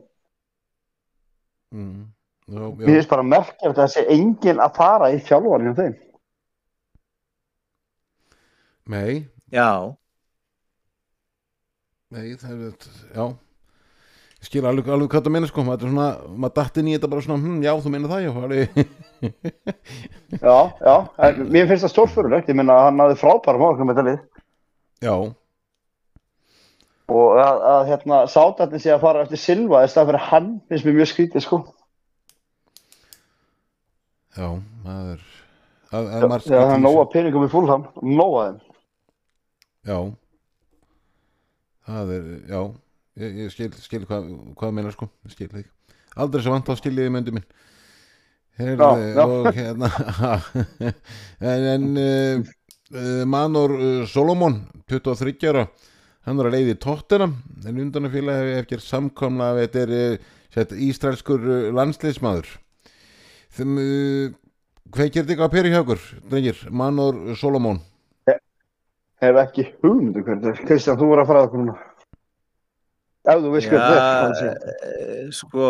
A: mm, já, já.
C: Mér finnst bara merkja að það sé engin að fara í þjálfari hjá þeim.
A: nei,
B: Já,
A: nei það er, já Ég skil alveg, alveg hvað það meina sko maður, er svona, maður datti inn í þetta bara svona hm, já, þú meina það, já, alveg
C: Já, já. En mér finnst það stórfurulegt. Ég minna að hann hafði frábæra málkum með þetta lið.
A: já,
C: Og að, að hérna, sátarni sé að fara eftir Silva í stað fyrir hann finnst mér mjög skrítið, sko.
A: já, maður að, að
C: Já,
A: maður
C: það er nóga peningum í fúlham. Nóga þeim.
A: já það er, já ég, ég skil, skil hvað, hvað það meina sko ég skil þig, aldrei svo vant á skil ég möndu minn Heyrðu,
C: Já, já.
A: og hérna en, en uh, uh, Manor uh, Solomon 23 ára hann er að leiði tóttina en undanafélag hef eftir samkomla að þetta er uh, sett, ístrælskur uh, landsliðsmaður þeim uh, hvað gerir þetta að peri hjá okkur drengir, Manor Solomon
C: Hef ekki hugmyndu hvernig þetta er. Kristján, þú voru að fara að okkur núna. Ef þú veist hvernig þetta er. kannski.
B: eh, sko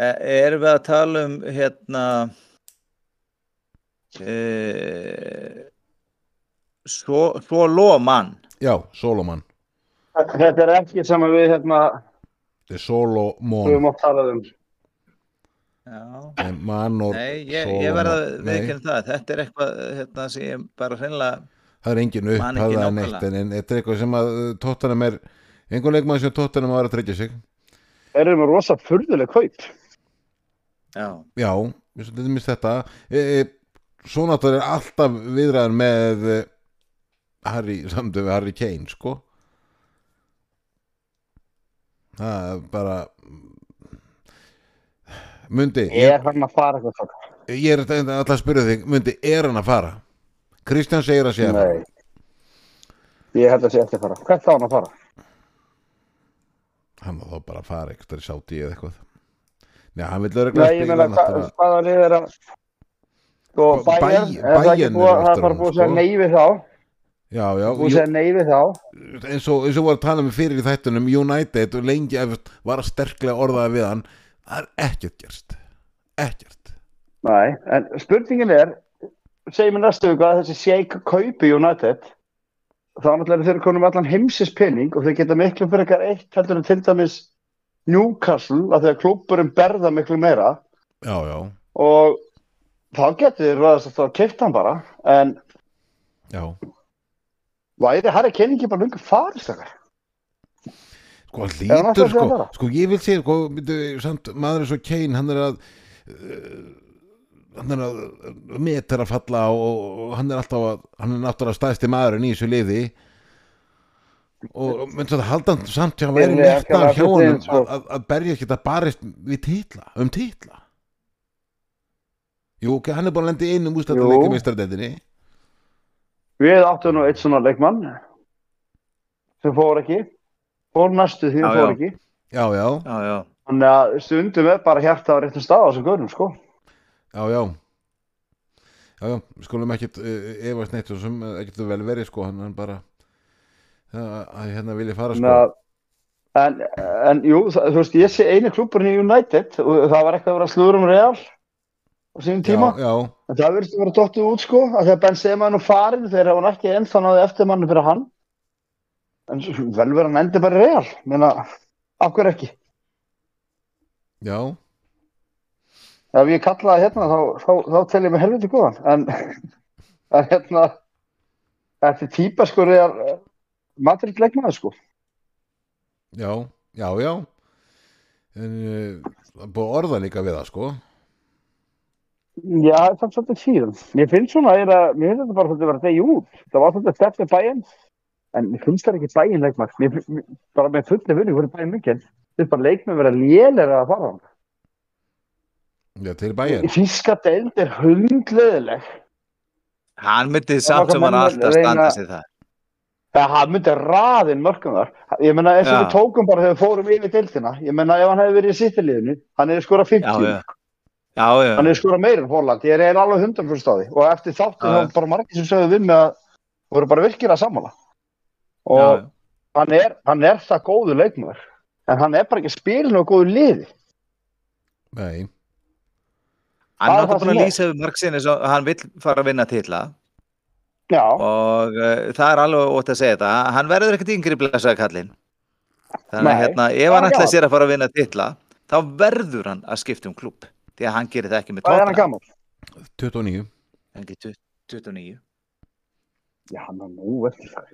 B: e, erum við að tala um hérna e, eh, svo, svo lómann
A: já, Solomon
C: Þetta er ekki sem að við hérna,
A: Þetta er
C: við
A: Solomon
C: mátt talað um.
B: Já,
A: en Manor
B: nei, ég,
A: Solomon
B: ég verð að
A: Nei,
B: veikinn það, þetta er eitthvað hérna sem ég bara hreinlega
A: það er engin
B: Man
A: upp
B: ekki
A: það er
B: nákvæmlega.
A: neitt en, en þetta er eitthvað sem að tóttanum er einhvern leikmann sem tóttanum að vera að treyja sig
C: Erum við rosa furðuleg kaup?
B: já,
A: já, við svolítið mist þetta e, e, svo náttúrulega er alltaf viðræðan með eh, Harry, samtum við Harry Kane sko það er bara Mundi
D: er hann að fara eitthvað þátt.
A: Ég er alltaf að spyrja þig, Mundi, er hann að fara? Kristján segir að sé að fara
D: Nei. Ég held að sé eftir að fara. Hvert á hann að fara?
A: hann var þá bara að fara eitthvað í sáti eða eitthvað Nei, hann vil örugglega
D: Nei, ég
A: spila
D: meina, hva,
A: náttúrulega
D: hvaða lið er að sko,
A: Bæ-
D: Bayern,
A: Bæ-
D: er það ekki
A: Bayern
D: búið
A: er
D: að það
A: aftur
D: er bara
A: honum,
D: búið að segja
A: sko.
D: nei við þá
A: Já,
D: búið
A: já,
D: að
A: jú,
D: segja nei við þá
A: eins og, eins og var að tala með fyrir í þættunum United og lengi eftir var að sterklega orðaða við hann Það er ekkert gerst Ekkert
D: Nei,
C: En spurningin er, segjum við næstu viku að þessi Sheik kaupi United, þá náttúrulega eru þeir konum allan heimsins pening og þeir geta miklu fyrir eitthvað eitt heldur en til dæmis Newcastle, að þegar klúburum berða miklu meira
A: Já, já,
C: og þá getur þeir ræðast að það kipta hann bara, en
A: já
C: væri Harry Kane ekki bara lungu farist þakkar?
A: Sko, hann
C: hann alltaf
A: lítur,
C: að
A: sko
C: fara?
A: Sko, ég vil segja, sko, myndu, samt, maður er svo Kane, hann er að uh, hann er að metar að falla og, og, og hann er alltaf að hann er náttúrulega stæðsti maðurinn í þessu liði og og menn svo það haldan samt hjá væri
D: Yrði
A: neitt
D: ekki að
A: af hjá
D: láta
A: honum
D: þig, sko.
A: að, að berja ekki að barist við titla, um titla Jú, ok, hann er búin að lenda í einum
C: Jú.
A: ústættanleika meistardendinni
C: Við áttum nú eitt svona leikmann sem fór ekki, fór næstu því
B: Já,
C: fór
B: já.
C: ekki.
A: Já, já,
B: já, já
C: Þannig að stundum er bara hjarta á réttum stað á þessum görum, sko.
A: já, já Já, já, skulum ekkert uh, efast neitt og sem ekkert vel verið sko, hann, hann bara það að hérna vilja fara sko
C: Þannig að En, en jú, það, þú veist, ég sé eini klúburinn í United og það var eitthvað að vera slúður um Real á sínum tíma.
A: já, já,
C: En það verðist að vera dottið út sko, að þegar Benzema er nú farin þegar hann ekki ennþá náði eftirmannu fyrir hann. En s- vel verið hann endi bara í real, meina, af hverju ekki?
A: já
C: Ef ég kalla það hérna, þá, þá, þá tel ég mig helviti góðan, en, en hérna, þetta er típa sko real eh, Madrid leikmaður sko.
A: já, já, já en uh, það er búið að orða líka við það sko
D: Já, það er svolítið síðan. Mér finnst svona, er að, mér finnst þetta bara svolítið að vera degi út. Það var svolítið stefnir bæinn, en mér finnst það ekki bæinn leikmar. Mér, fin- mér, bara með fullið vinning voru bæinn mikið. Mér finnst bara leikmenn vera lélega að fara hann.
A: já, til bæjar,
C: Þíska deild er hundleðileg.
B: Hann myndi
D: var
B: samt sem hann
D: menn að
B: alltaf
D: reyna-
B: standa sig það.
C: Það hann myndi raðin mörgum þar. Ég meina eins og
B: Já.
C: við tókum bara þegar við fórum yfir deildina. Ég meina ef hann hefði verið í sittiliðinu, hann hefði skorað
B: Já,
C: 50.
B: já. Já, já.
C: Hann hefði skorað meira en Holland. Ég er eiginlega alveg hundan fyrir stáði. Og eftir þáttu
B: Já,
C: þá
B: já.
C: var bara margir sem sögðu við með að voru bara virkir að samála. Og
B: já, já.
C: Hann, er, hann er það góðu leikmaður. En hann er bara ekki spilin og góðu liði.
A: nei,
B: Hann
C: það
B: er
C: er það
B: náttúrulega búin að
C: sem er.
B: lýsa við marg sinni að hann vill fara að vinna titla
C: Já,
B: og uh, það er alveg ótt að segja þetta. Hann verður ekkert yngri blessaði kallinn. Þannig að
C: Nei,
B: hérna,
C: það
B: ef hann
C: er
B: ætlaði
C: gaman.
B: sér að fara að vinna titla, þá verður hann að skipta um klúb. Því að hann gerir það ekki með
C: hvað er hann
B: tóttina.
C: gammal?
A: 29
B: Hann er 29.
C: Já, hann er nú eftir það.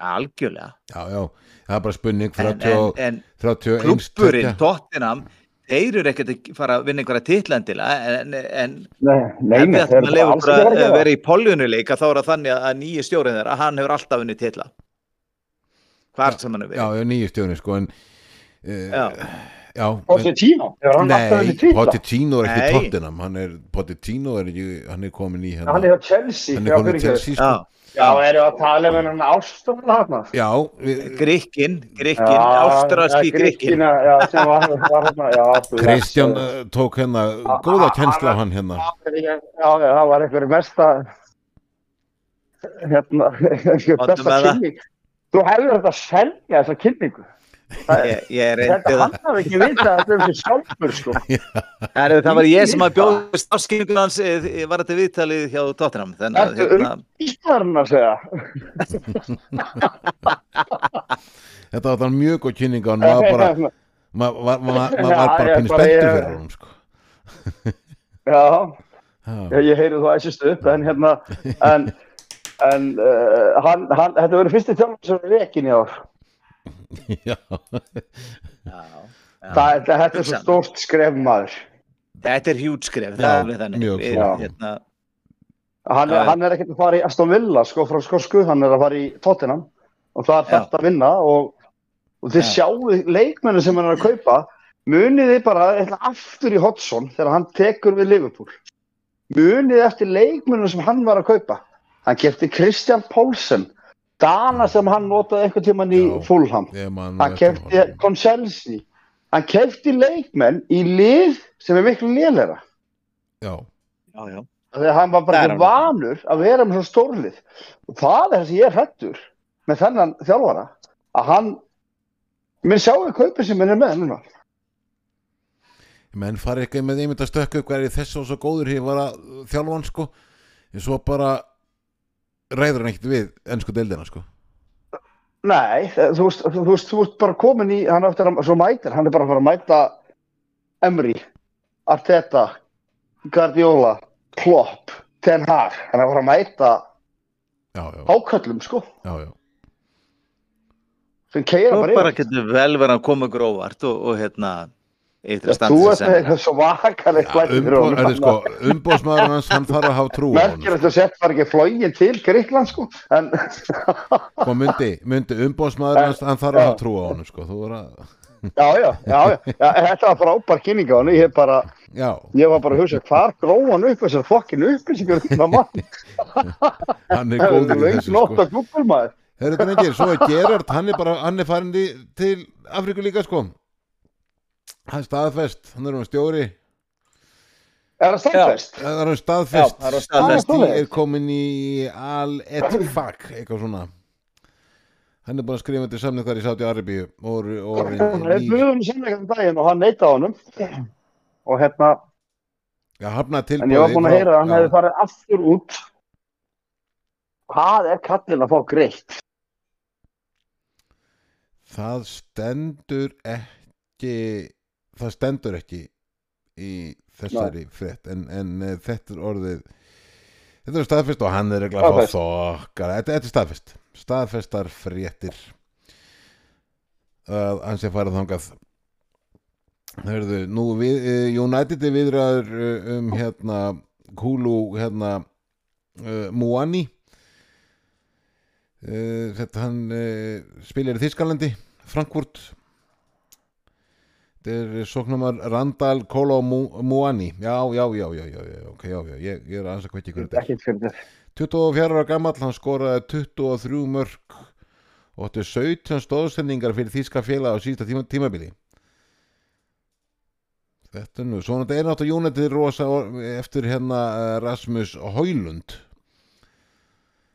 B: Algjörlega.
A: já, já, það er bara spurning
B: En, en,
A: 30,
B: en
A: 31
B: klúpurinn,
A: 20.
B: tóttinam, þeir eru ekkert að fara að vinna einhverja titlandilega en, en
D: Nei, nei,
B: ef
D: nei,
B: við
D: þeir
B: ætlum
D: eru
B: að
D: bara alls ekki
B: lifa
D: að vera
B: okkur
D: að
B: að
D: gera.
B: vera í poljunuleika þá er það þannig að- að nýju stjórinn þeirra, hann hefur alltaf unnið titla hvar sem hann hefur
A: já,
B: verið
A: já, nýju stjóni sko en uh,
B: Já.
A: já, en,
C: Pochettino, hefur hann alltaf
A: nei,
C: henni títla?
A: Pochettino er ekki
B: Nei.
A: tóttinam hann er, Pochettino er ekki, hann er komin í
C: Hann
A: hérna,
C: er hjá Chelsea.
A: hann
C: já,
A: er komin í
C: fyrirgefðu.
A: Chelsea
B: já,
A: sko.
C: Já, erum við að tala um hennan ástofna hérna?
A: já, við,
B: Grikkin, Grikkin, ástralski Grikkin
C: Já, sem var, var hérna, já. þú veist,
A: Kristján
C: eh,
A: eh, tók hérna góða kennsla á hann hérna
C: Já, já, það var einhver mesta, hérna, einhver
B: Áttu
C: besta
B: með það?
C: kynning. Þú hefur þetta að selja þessa kynningu.
B: ég, ég reyndi
C: Þetta
B: það
C: hann hafði ekki vitað þetta um sig sjálfur, sko.
B: Herru, það var ég sem að bjóðist áskilningun hans eh, eh, var þetta viðtalið hjá tóttinam þannig að
C: Ertu
B: hérna,
C: Íslarinn að segja.
A: þetta var þannig mjög góð kynning og hann var bara maður var, var, var, var
C: Já,
A: bara
C: ég
A: pínu
C: bara-
A: spenntur
C: ég-
A: fyrir honum sko.
C: Já,
A: Já,
C: ég, ég heyri þú æsist upp, en hérna, en, en uh, hann, hann, þetta verður fyrsti þjálfur sem er rekin í ár.
A: já,
B: já, já.
C: Það, þetta- þetta er svo stórt skref maður.
B: þetta er hjútskref
A: Já,
B: það er alveg þannig
A: mjög
B: Við,
C: svo.
B: hérna, Já,
C: Hann, er,
B: já.
C: hann er ekkert að fara í Aston Villa sko frá Skorsku, hann er að fara í Tottenham og það er
B: Já.
C: þetta að vinna og, og þið
B: Já.
C: sjáuð leikmennu sem hann er að kaupa munið þið bara eitthvað aftur í Hodgson þegar hann tekur við Liverpool munið eftir leikmennu sem hann var að kaupa hann kefti Kristján Pálsson Dana sem hann notaði einhvern tíman í
A: Já.
C: Fulham
A: ég man nú
C: hann
A: eftir
C: kefti
A: honum.
C: Konselsi hann kefti leikmenn í lið sem er miklu lélera
A: já,
B: já, já.
C: Þegar hann var bara
B: Það er
C: ekki
B: alveg.
C: vanur að vera með svona stórlið. Og það er það sem ég er hrættur með þennan þjálfara. Að hann, minn sjáu kaupið sem minn er með núna.
A: menn fari ekki með einmitt að stökka upp hverju þess og svo góður hér var að þjálfa hann sko en svo bara ræður hann ekkert við ennsku deildina sko
C: Nei, það- Eh, þú veist, þú veist, þú veist bara komin í, hann eftir að, svo mætir, hann er bara að fara að mæta Emri, Arteta, Guardiola, Klopp, Ten Hag. Hann er að fara að mæta
A: já, já,
C: ákallum, sko,
A: já, já.
C: sem keira
B: Svo
C: bara
B: bara
C: yfir.
B: getur vel verið að koma ykkur óvart og, og hérna
C: Já,
B: eitthvað
C: Þú
B: standið
C: ert með eitthvað svo vakarlegt flæti fyrir
A: Umbó,
C: honum.
A: er, sko, umbóðsmaður hans hann þarf að hafa trú á honum
C: Merkir þetta sett var ekki flógin til Gríkland sko en
A: sko myndi, myndi umbóðsmaður hans hann þarf að hafa trú á honum sko þú voru að,
C: já, já, já, já, já þetta var frábær kynning á hann ég, bara,
A: já,
C: ég var bara að hugsa hvar gró hann upp þessar fokkin upplýsingar um þennan mann?
A: hann er
C: það var
A: góður í
C: löng
A: þessu sko
C: nótt að Google maður
A: Herru drengir, svo er Gerard, hann er bara, hann er farin í, til Afríku líka sko. Hann er staðfest, hann er um stjóri,
C: er það staðfest?
A: það er hann staðfest.
B: Já, það er hann staðfest.
A: Stí er komin í Al-Etfak, eitthvað svona. Hann er búin að skrifa til samning þar í Sáti Arabíu og, og,
C: Við
A: og
C: höfum sannleikann daginn og hann neytaði honum og hérna
A: Já, hafna tilbúið
C: en ég var búin að heyra að hann hefði farið aftur út hvað er kallin að fá greitt
A: Það stendur ekki það stendur ekki í þessari frétt en, en eh, þetta er orðið þetta er staðfest og hann er regla að fá
C: Staðfest.
A: þokkar þetta, þetta er staðfest staðfestar fréttir að hann sé farið þangað Hörðu, nú við, eh, United er viðraður eh, um hérna Kulu hérna uh, Muani uh, þetta hann uh, spilar í Þískalandi Frankfurt Þetta er sóknumar Randall Kolo Muani Já, já, já, já, já, já, ok, já, já, ég, ég er aðeins að kveitja ykkur þetta er.
C: ekkert fyrir þetta
A: 24 ára gamall, hann skoraði 23 mörg og áttu 17 stóðsendingar fyrir þýska félag á sísta tíma, tímabili Þetta er nú, svona þetta er náttúrulega Jónatið rosa or- eftir hérna eh, Rasmus Hólund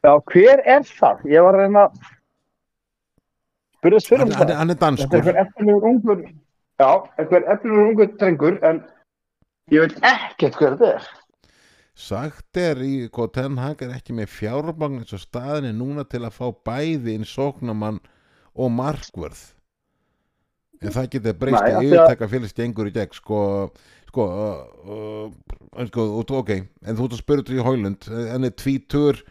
C: já, hver er það? ég var að reyna að spyrðast fyrir
A: hann,
C: um
A: hann,
C: það
A: hann er
C: þetta er
A: danskur
C: hver eftirlegur ungur já, hver eftirlegur ungur drengur en ég veit ekkert hver þetta er
A: Sagt er í hvað Ten Hag er ekki með fjármagn eins og staðinni núna til að fá bæði inn sóknamann og markvörð. En það geta breyst
C: Nei, af
A: að
C: því að-
A: yfirtaka félags gengur í gegn, sko, sko, uh, uh, sko, og- ok, en þú ert að spyrja til í Hólund, hann er tvítur,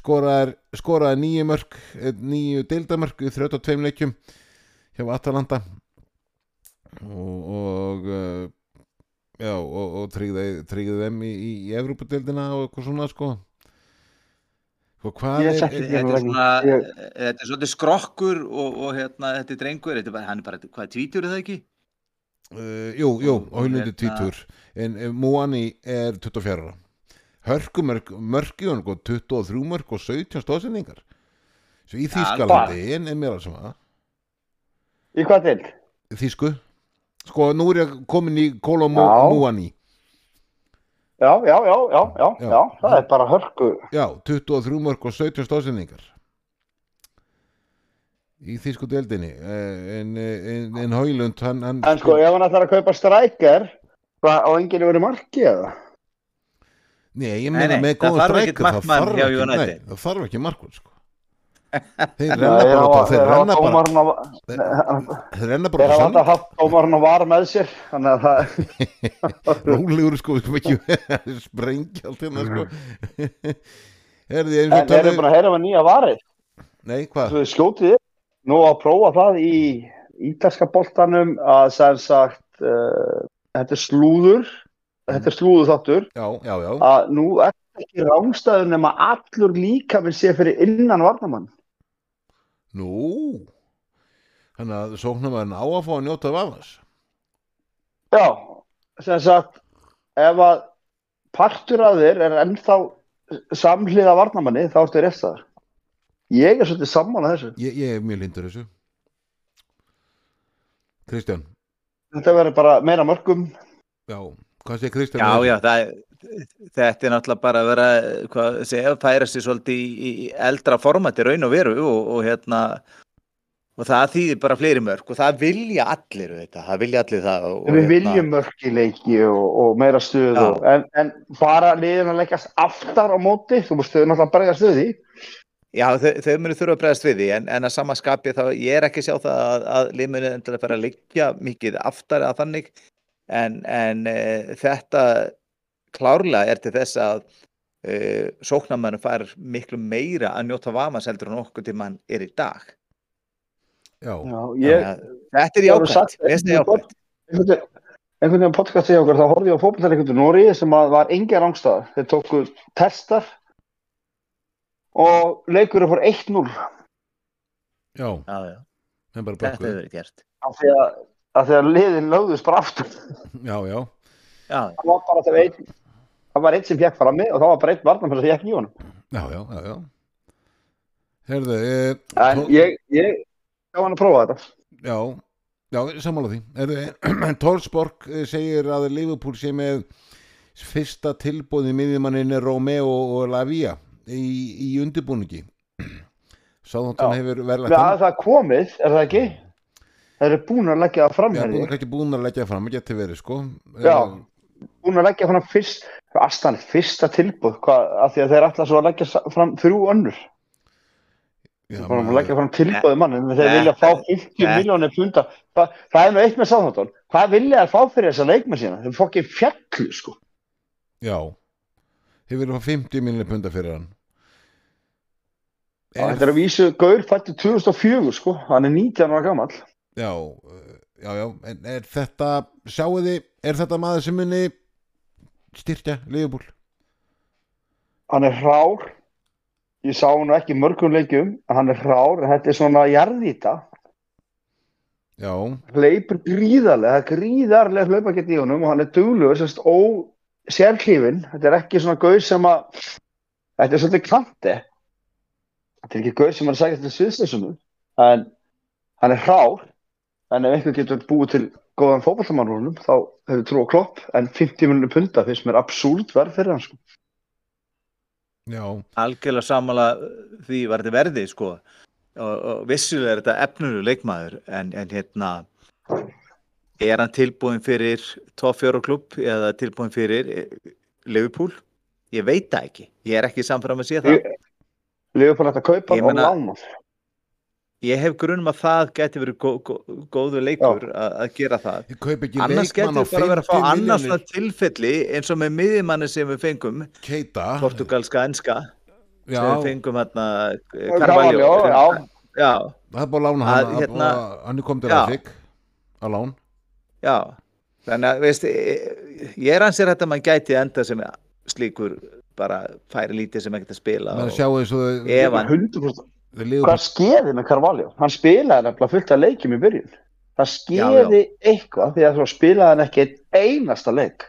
A: skoraði, skoraði nýju mörk, eh, nýju deildamörk í 32 leikjum hjá Atalanta og, og uh, já, og, og tryggði, tryggði þeim í, í, í Evrópadeildina og eitthvað svona, sko. Sko, hvað
C: Ég
A: er,
C: setti-
A: er,
B: Þetta er svona,
C: Ég-
B: þetta er svolítið skrokkur og, og hérna, þetta er drengur, þetta er bara, hann er bara, hvað, tvítur er það ekki?
A: Uh, jú, jú,
B: Og- og
A: Hólundur
B: hérna-
A: tvítur en uh, Múani er 24 ára Hörkumörk, mörkjón 23 mörk og 17 stóðsendingar Svo í
B: Ja,
A: Þýskalandi en, en mér að sem að
C: í hvað til?
A: Þýsku Sko, nú er ég komin í Kolo Mú,
C: Já.
A: Múani
C: já, já, já, já, já,
A: Já.
C: já það er bara hörku
A: Já, 23 mörk og 17 stóðsendingar Í Þýsku deildinni Eh, En, eh, en, en Hólund hann, hann
C: En sko, ef hann ætlar að kaupa strækjar, hvað á enginu verið marki eða?
A: Nei, ég
B: Nei,
A: meina
B: nei,
A: með
B: það
A: góðum
B: þarf ekkert
A: strækir það
B: markmann
A: þarf
B: hjá
A: ekki, nei,
B: United.
A: það þarf ekki markmann sko. Þeir renna bara út á- þeir renna bara
C: bara.
A: þeir renna
C: Þeir
A: bara
C: hafa
A: saman
C: alltaf haft dómarinn og var með sér, þannig að það,
A: Rólegur sko, sko ekki sprengja allt hérna sko Er því eins og
C: en þeir eru búin
A: tölum
C: að heyra með nýja varið,
A: Nei, hvað?
C: þú skjótið þið, nú að prófa það í ítalska boltanum að sem sagt, uh, þetta er slúður, þetta er slúður þáttur,
A: Já, já, já
C: að nú er ekki rángstæður nema allur líka minn sé fyrir innan varnamann.
A: Nú Þannig að sóknarmaðurinn á að fá að njóta af aðeins
C: Já, sem sagt ef að partur að þér er ennþá samhliða varnamanni þá ertu rétt þar ég er svolítið sammála þessu
A: ég, ég er mjög lindur þessu Kristján
C: þetta verður bara meira mörgum
A: Já, hvað sé Kristján?
B: Já,
A: með þessu?
B: já, það, þetta er náttúrulega bara að vera, hvað segja, færa sig svolítið í, í eldra formati raun og veru og, og hérna, og það þýðir bara fleiri mörg og það vilja allir þetta, það vilja allir það. Og,
C: við
B: hérna,
C: viljum mörg í leiki og, og meira stuð
B: Já.
C: og, en, en bara liðin að leikast aftar á móti þú múst þau náttúrulega bregja stuð í
B: Já, þau, þau munu þurfa að bregðast við því en, en að sama skapi þá, ég er ekki að sjá það að, að liðmunni endilega fara að liggja mikið aftar að þannig en, en e, þetta klárlega er til þess að e, sóknamannu fær miklu meira að njóta vafans heldur en okkur til mann er í dag.
A: Já,
C: Já, ég,
B: Þannig að þetta er
C: Það voru
B: jákvæmt,
C: sagt-
B: mér finnst það jákvæmt.
C: einhvern veginn- einhvern veginn podcast í okkur þá horfði ég á fótballtæleikundu Nóri sem að var engin rángstæðar þeir tóku testar og leikurinn fór 1-0
A: já,
B: Já, já,
A: menn bara
B: þetta hefur
A: bökkuð
B: verið gert.
C: af því að, af því að liðin lögðust bara aftur það
A: Já, já
B: Já,
C: var bara þegar einn það var einn sem fjekk frammi og það var bara einn varnarmenn sem fjekk í honum
A: Já, já, já, já. Herðu, e,
C: en ég, ég gaf hann að prófa þetta
A: já, já, sammála því. Herðu, en Torsborg eh, segir að Liverpool sé með fyrsta tilbúði miðjumanninni Romeo og Lavia í, í undirbúningi. Sáðantan
C: Já.
A: hefur
C: með
A: verðlagt
C: að það komið, er það ekki? þeir eru búin að leggja það fram
A: Já,
C: herði
A: búin,
C: ég.
A: kannski búin að leggja fram, að geti verið sko
C: Já.
A: Eh,
C: búin að leggja fram fyrst, astan, fyrsta tilbúð, hvað, af því að þeir ætla svo að leggja sa- fram þrjú önnur.
A: Já,
C: Þeir búin
A: maður-
C: að leggja fram tilbúði mann, en þeir
B: Nei.
C: vilja fá 50
B: Nei.
C: miljónir punda. Þa, það er nú eitt með sáþáttan. Hvað vilja þeir fá fyrir þessa leikmenn sína? Þeir fokkið fjallu, sko.
A: Já Þeir vilja fá 50 miljonir punda fyrir hann
C: Já, Þetta er að vísu Gaur fættu 2004, sko. Hann er 19 ára gammal.
A: Já, eh, já, já En er þetta, sjáu þið Er þetta maður sem muni styrkja Leifubúl?
C: Hann er hrár. Ég sá hann nú ekki í mörgum leikjum, en hann er hrár. en Þetta er svona jarðýta.
A: Já,
C: hleypur gríðarlega, það er gríðarlega hlaupa í honum og hann er duglugur, sérst ó sérklífin, þetta er ekki svona gauð sem að, þetta er svolítið kanti þetta er ekki gauð sem er að segja til sviðsessunum, en hann er hrár, en ef einhver getur búið til góðan fótballamann úr honum, þá hefur trú á klopp, en 50 miljonu punda finnst mér absúlt verð fyrir hann sko.
A: já,
B: algjörlega sammála því var þetta verði sko og, og vissulega er þetta efnuru leikmaður en, en hérna er hann tilbúin fyrir top 4 klubb eða tilbúin fyrir eh, Liverpool? Ég veit það ekki ég er ekki samfram að sé það
C: Ég- Leifur þetta kaupa
B: Ég
C: og
B: meina-
C: lána
B: ég hef grunum að það geti verið gó, gó, góðu leikur að, að gera það
A: ég kaup ekki
B: annars
A: leikmann á
B: getur bara verið að
A: 50
B: fá annars
A: miljonir
B: svona tilfelli eins og með miðjumanni sem við fengum
A: Keita
B: portugalska enska
A: Ah. Já,
B: sem við fengum hérna
C: Carvalho, já.
B: já,
A: það er búið að lána
B: Að,
A: hann að, hérna,
B: hérna-
A: Hann er komið til
B: Já.
A: að þig Á lán
B: Já, þannig að veist, eh, ég er ansið þetta að mann gæti enda sem slíkur bara færi lítið sem ekkert að spila
A: Menn
B: og
A: sjáu þessu
B: ef hann,
C: 100%
A: Þeir Leifubúl
C: hvað skeði með Carvalho? Hann spilaði nefnilega fullt af leikjum í byrjun. Það skeði eitthvað því að þú spilaði hann ekki einn einasta leik.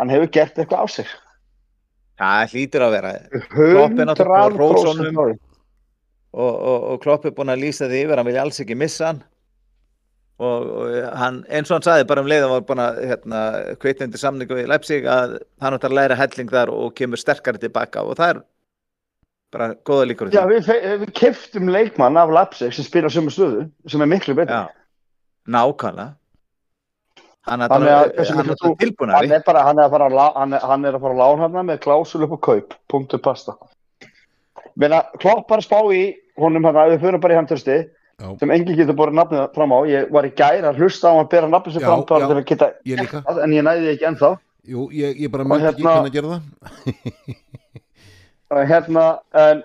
C: Hann hefur gert eitthvað á sig.
B: það hlýtur að vera Klopp er náttúrulega búinn að rósa
C: 100%
B: honum.
C: árið.
B: og, og, og Klopp er búin að lýsa því yfir, hann vilja alls ekki missa hann og, og hann, eins og hann saði bara um leið hann var búin að hérna, kveitna undir samningu í Leipzig að hann átt að læra helling þar og kemur sterkari tilbaka og það er bara góða líkur á því.
C: Já, við, fe- við keftum leikmann af Lapsig sem spila sömu stöðu, sem er miklu betur.
B: Já. nákvæmlega hann er,
C: Þannig
B: bara-
C: að hversu
B: hann
C: miklu
B: er bara
C: þú-
B: tilbúnari
C: Hann er, bara, hann, er að fara að lá- hann, er, hann er að fara að lána hann með klásul upp á kaup, punktu pasta. Meina, Klopp bara spá í honum hann, við fyrir bara í handhörsti,
A: Já,
C: sem enginn getur borðið nafnið fram á ég var í gæri að hlusta á að bera nafnið sem
A: Já,
C: fram bara
A: já.
C: til að geta
A: Ég líka.
C: það, en ég næði því ekki ennþá
A: jú, ég, ég bara
C: Og
A: mætti ekki
C: hérna-
A: hvernig að gera það
C: og hérna en,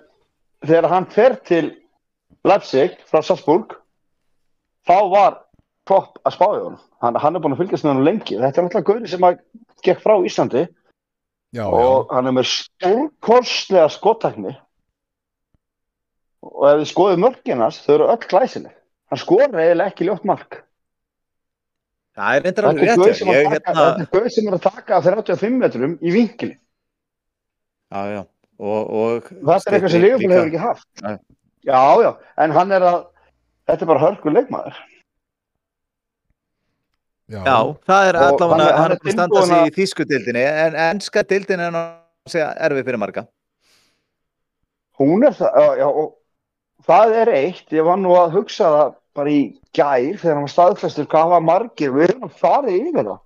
C: þegar hann fer til Leipzig frá Salzburg þá var Klopp að spáði honum hann, hann er búin að fylgjast með hann lengi þetta er náttúrulega gauri sem að gekk frá Íslandi
A: Já,
C: og hann er með stórkorslega skottækni og ef þið skoðið mörginast þau eru öll glæsileg hann skorar eiginlega ekki ljótt mark
B: það er reyndar
C: Þetta
B: alveg
C: er
B: rétt
C: gauð
B: já.
C: sem,
B: ég,
C: að taka-
B: hérna,
C: þetta er gaur sem er að taka að 35 metrum í vinkli.
B: Já, já, og, og
C: Þetta er eitthvað sem Leopold hefur ekki haft.
B: Nei.
C: Já, já, en hann er að, þetta er bara hörku leikmaður.
A: já,
B: Já, það er
C: Og hann
B: allavega
C: er- hann
B: hann
C: er
B: er búinn að standa
C: tilbúinn
B: sig
C: að-
B: í þýsku dildinni en ennska dildin er nú að segja erfið fyrir marga
C: Hún er það, já, já, og það er eitt, ég var nú að hugsa það bara í gær þegar hann var staðfestur, hvað hafa margir, við erum að farið yfir það.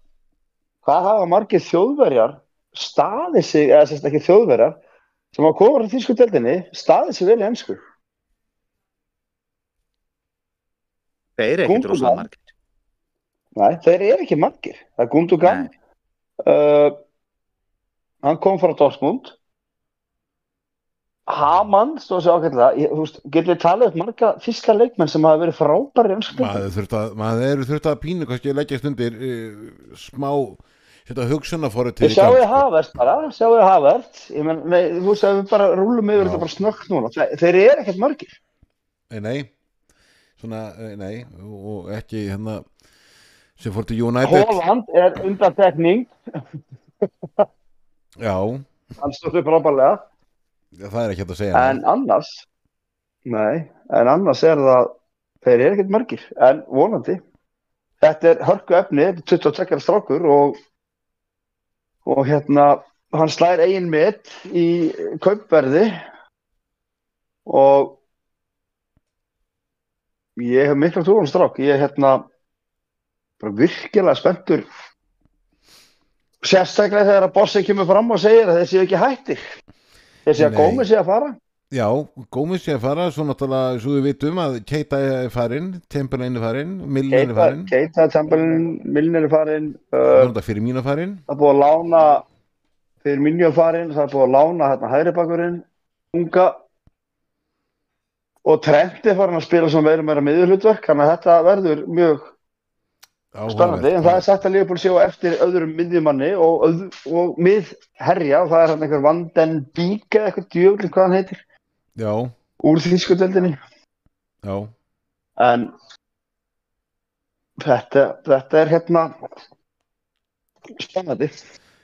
C: Hvað hafa margir þjóðverjar staðið sig, eða sérst ekki þjóðverjar, sem hafa komið frá þýsku deildinni, staðið sig vel í ennsku.
B: Þeir eru ekkert
C: Kóngulær.
B: rosalega margir
C: Nei, þeir eru ekki margir. Það er Gundogan,
B: Nei.
C: uh, hann kom frá Dortmund Hamann stóð sér ágætlega Ég- þú veist, getur við talað upp marga fyrsta leikmenn sem hafa verið frábæri ennsku
A: maður þurft að maður eru þurft að pínu hvað ég leggja stundir uh, smá þetta hugsunafóru til
C: Ég sjáu þið Havert bara, sjáu þið Havert ég menn, nei, þú veist að við bara rúlum yfir
A: Já.
C: þetta bara snöggt núna, Þe, þeir eru ekkert margir
A: nei, Eh, nei, svona, eh, nei og og ekki hérna sem fór til United
C: Holland er undantekning
A: já,
C: hann stóð upp frábælega,
A: það er ekki hægt að segja
C: en annars nei, en annars er það þeir eru ekkert margir, en vonandi þetta er hörku efni, þetta er 22 ára strákur og og hérna hann slær eigin mitt í kaupverði og ég hef mikla trúan strák ég er hérna bara virkilega spenntur sérstaklega þegar að bossin kemur fram og segir að þeir séu ekki hættir þeir séu að
A: Nei.
C: gómi séu að fara
A: Já, Gómez sé að fara, svo náttúrulega svo við vitum að Keita er farin Temperlein er farin, Millen er
C: Keita,
A: farin
C: Keita Tembelin, Milner er farin
A: Það
C: uh,
A: er þetta fyrir mín að farin
C: það er búið að lána fyrir minni er farin, það er búið að lána hérna hægri bakurinn, unga og Trent er farin að spila sem verður meira miðurhlutverk þannig að þetta verður mjög Spennandi, en það er sagt að Leopold séu eftir öðrum miðjumanni og, öð, og miðherja og það er hann einhver Vanden Bík eða eitthvað djöflin hvað hann heitir
A: Já,
C: úr þýskutöldinni
A: já,
C: en þetta, þetta er hérna spennandi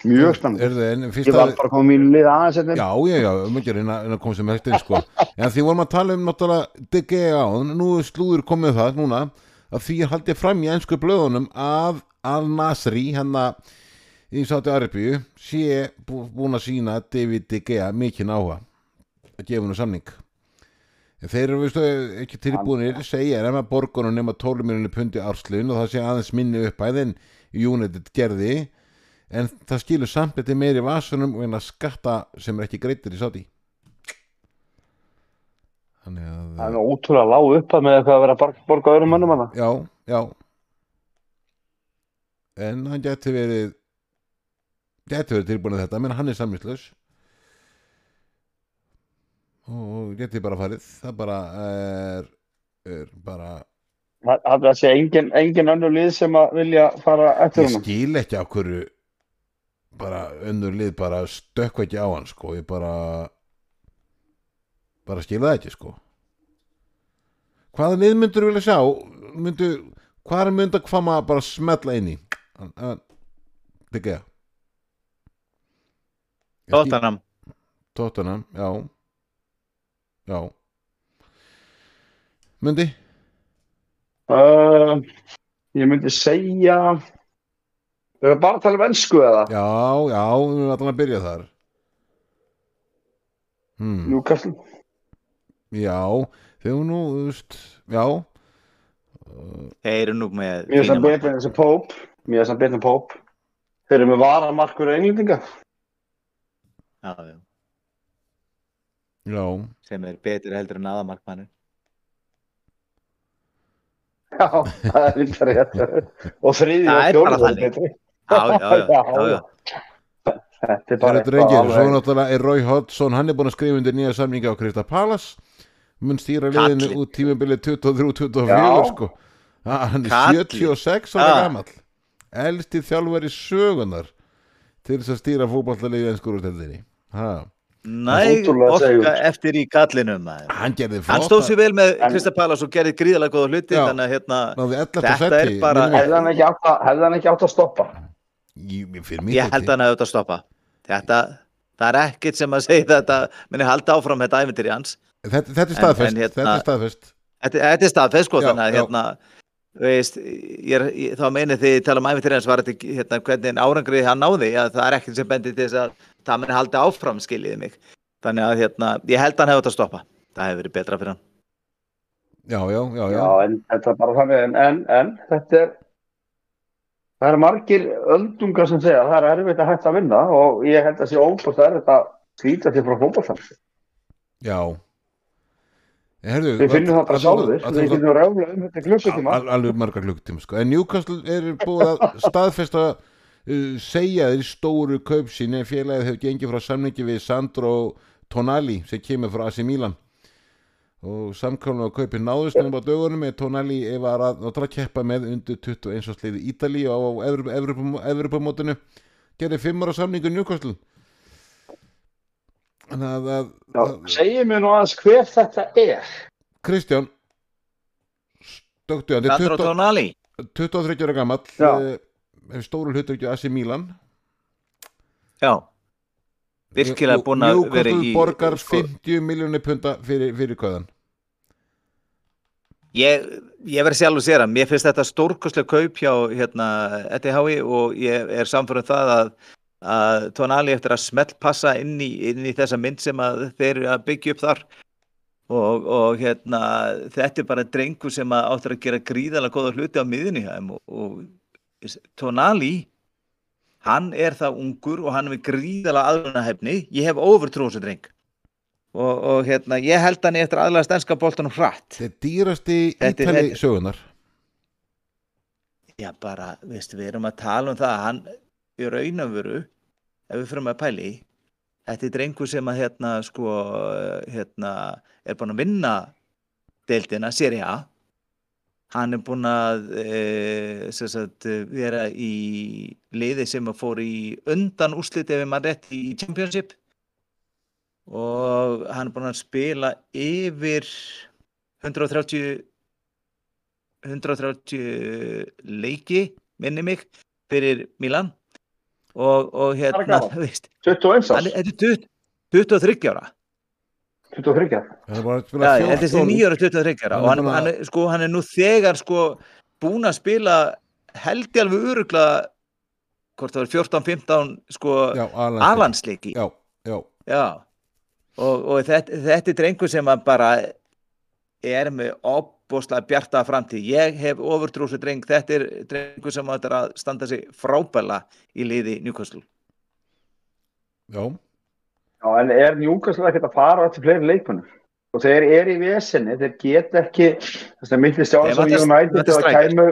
C: mjög spennandi
A: er það en fyrst
C: ég var bara að koma mínu lið aðeins hérna.
A: Já, já, já, um ekki að reyna reyna að koma sem helst inn sko. En því vorum að tala um náttúrulega DG áðan, nú er slúður komið það núna að því er haldið fram í ennsku blöðunum að Al-Nasri hérna í Sáti Arabíu sé bú, búin að sína David DG mikinn áhuga að gefa hennu samning En þeir eru veistu, ekki tilbúinir segja er að borgunum nema 12 miljonir pundi árslun og það sé aðeins minni uppæðin United gerði en það skilur samt þetta er meiri vasunum og en að skatta sem er ekki greittir í sáti þannig
D: Það er
A: að
D: nú ótrúlega lág upp að með eitthvað að vera að bar- borga öðrum mönnum hana.
A: já, já en hann gæti verið gæti verið tilbúin að þetta menn hann er samvislaus og gæti bara farið það bara er, er bara
D: Það það sé engin, engin önnur lið sem að vilja fara eftir
A: ég
D: húnum.
A: skil ekki af hverju bara önnur lið bara stökkva ekki á hann sko ég bara bara skila það ekki sko hvaða lið myndur vilja sjá myndu, hvað er mynd að kvama bara smetla inn í digga
B: Tottenham
A: Tottenham, já já myndi
D: Uh,
C: ég myndi segja við erum bara að tala um ennsku eða
A: já, já, við erum allan að byrja þar hmm.
C: Newcastle
A: Já, þegar nú, þú veist, já,
B: þeir eru nú með
C: Mér
B: fína
C: er það
B: mark.
C: betur en þessi Póp Mér er það betur en Póp Þeir eru með varamarkur englendinga
B: Já, já.
A: já,
B: sem er betur heldur en aðamarkmannin
C: Já, það er líka rétt Og þriði
B: Það
C: og
B: er
C: fjóri
B: bara þannig. já, já, já, já, já.
C: Þetta er
A: það
C: bara
A: er drengir, svo
C: alveg
A: náttúrulega er Roy Hodgson, hann er búin að skrifa undir nýja samninga á Krista Palas, mun stýra liðinu
B: Kallinn.
A: út tímabilið 23-24,
C: Já.
A: sko, Ha, hann er
B: Kallinn.
A: 76 ára
B: Ah.
A: gamall, elsti þjálfari sögunar til þess að stýra fótballaliði einskur úr tildinni, ha,
B: næg
C: Ótrúlega
B: orka
C: segjult.
B: eftir í gallinum maður.
A: hann gerði
B: hann stóð
A: flotta,
B: sér vel með
C: En-
B: Krista Palas og gerði gríðalega góða hluti
A: Já.
B: þannig að hérna,
A: náði 11.
B: Þetta er
A: seti,
B: bara-
A: minnum
C: Hefði hann ekki átt að- hefði hann ekki átt að stoppa
A: ég, fyrir mér
B: ég held að hann hefði auðvitað að stoppa þetta, það er ekkert sem að segja þetta minni halda áfram þetta æfintir í hans
A: þetta, þetta er
B: En-
A: staðfest,
B: en hérna-
A: þetta er staðfest,
B: þetta, þetta er staðfest sko
A: Já,
B: þannig að
A: já.
B: hérna veist, ég, er- ég, þá meini því tala um æfintir hans var þetta ekki, hérna, hvernig árangrið hann náði að það er ekkert sem bendir til þess að það minni halda áfram skiljiði mig þannig að hérna, ég held að hann hefði auðvitað að stoppa það hefði verið betra fyrir hann
A: já, já, já, já,
C: Já, en þetta er bara þannig En, en, en þetta er Það eru margir öldungar sem segja að Það er erfitt að hætta að vinna Og ég held að sé óbúst að þetta slíta sér frá fótboltan
A: Já En Herðu,
C: Við finnum það bara sjálfur
A: að- að-
C: Við finnum ráðlega um þetta
A: al-
C: klukkutíma
A: al- Alveg marga klukkutíma sko. En Newcastle er búið að staðfesta uh, segja þeir stóru kaup sín en félagið hefur gengið frá samningi við Sandro Tonali sem kemur frá AC Milan og samkvæmlega á kaupi náðust nema á dögunum með Tonali var að náttúrulega keppa með undir 21 og sleiði Ítali á Evropamótinu gerði fimmar á samningu Newcastle Þannig að, að,
C: Já,
A: að
C: Segðu mér nú aðeins hver þetta er
A: Kristján stöktu hann, þetta
B: Sandro
A: er
B: Tonali
A: 20 23 ára gamall
C: Já.
A: eh, hefur stóru hlutur ekki AC Milan
B: Já Virkilega búin að vera í
A: borgar
B: sko,
A: 50 miljónir punta fyrir, fyrir kauðan
B: Ég, ég verð sjálf að sér að mér finnst þetta stórkoslega kaup hjá hérna ETH-i og ég er samfyrir það að, að tónali eftir að smeltpassa inn í, inn í þessa mynd sem að þeir eru að byggja upp þar og, og hérna þetta er bara drengur sem að áttur að gera gríðalega góða hluti á miðinni hjá þeim og, og tónali hann er það ungur og hann er með gríðala aðlunahefni ég hef overtrú á þessu dreng og, og hérna, ég held hann eftir aðlaða stenska boltanum hratt
A: Þetta er dýrasti
B: Þetta er-
A: ítali
B: þetta-
A: sögunar
B: já bara, veistu, við erum að tala um það að hann í raunafuru ef við fyrir að pæli í, þetta er drengur sem að hérna sko hérna, er búin að vinna deildina, sér ég að hann er búin að e, sem sagt, eh, vera í liði sem að fór í undan úrslit ef maður rétt í championship og hann er búin að spila yfir 130 130 leiki minni mig fyrir Milan og, og hérna
D: gamall?
B: þú veist,
C: 21
B: hann
C: árs,
B: er, þetta er 20 23 ára
C: 23 árs.
A: Það var að spila
B: Já, þetta er þessi
A: 14
B: nýjóra 23
A: Hann er
B: ára og hann,
A: búinn að-
B: hann, er- sko, hann er nú þegar sko búin að spila held ég alveg örugla hvort það var 14-15 sko
A: Já, Alan
B: alansleiki
A: Já, já
B: Já, og, og þetta, þetta er drengur sem að bara er með opbúslega bjarta framtíð. Ég hef ofurtrúsu dreng, þetta er drengur sem að þetta er að standa sig frábæla í liði Newcastle.
A: Já,
D: Já, en er njúkastlega ekkert að fara til fleiri leikmennum?
C: og þeir eru í vesinni, þeir get ekki þess að myndi sjá
B: Þeir
C: þess að
B: vantar-
C: United
B: vantar
C: þegar það
B: striker.
C: kæmu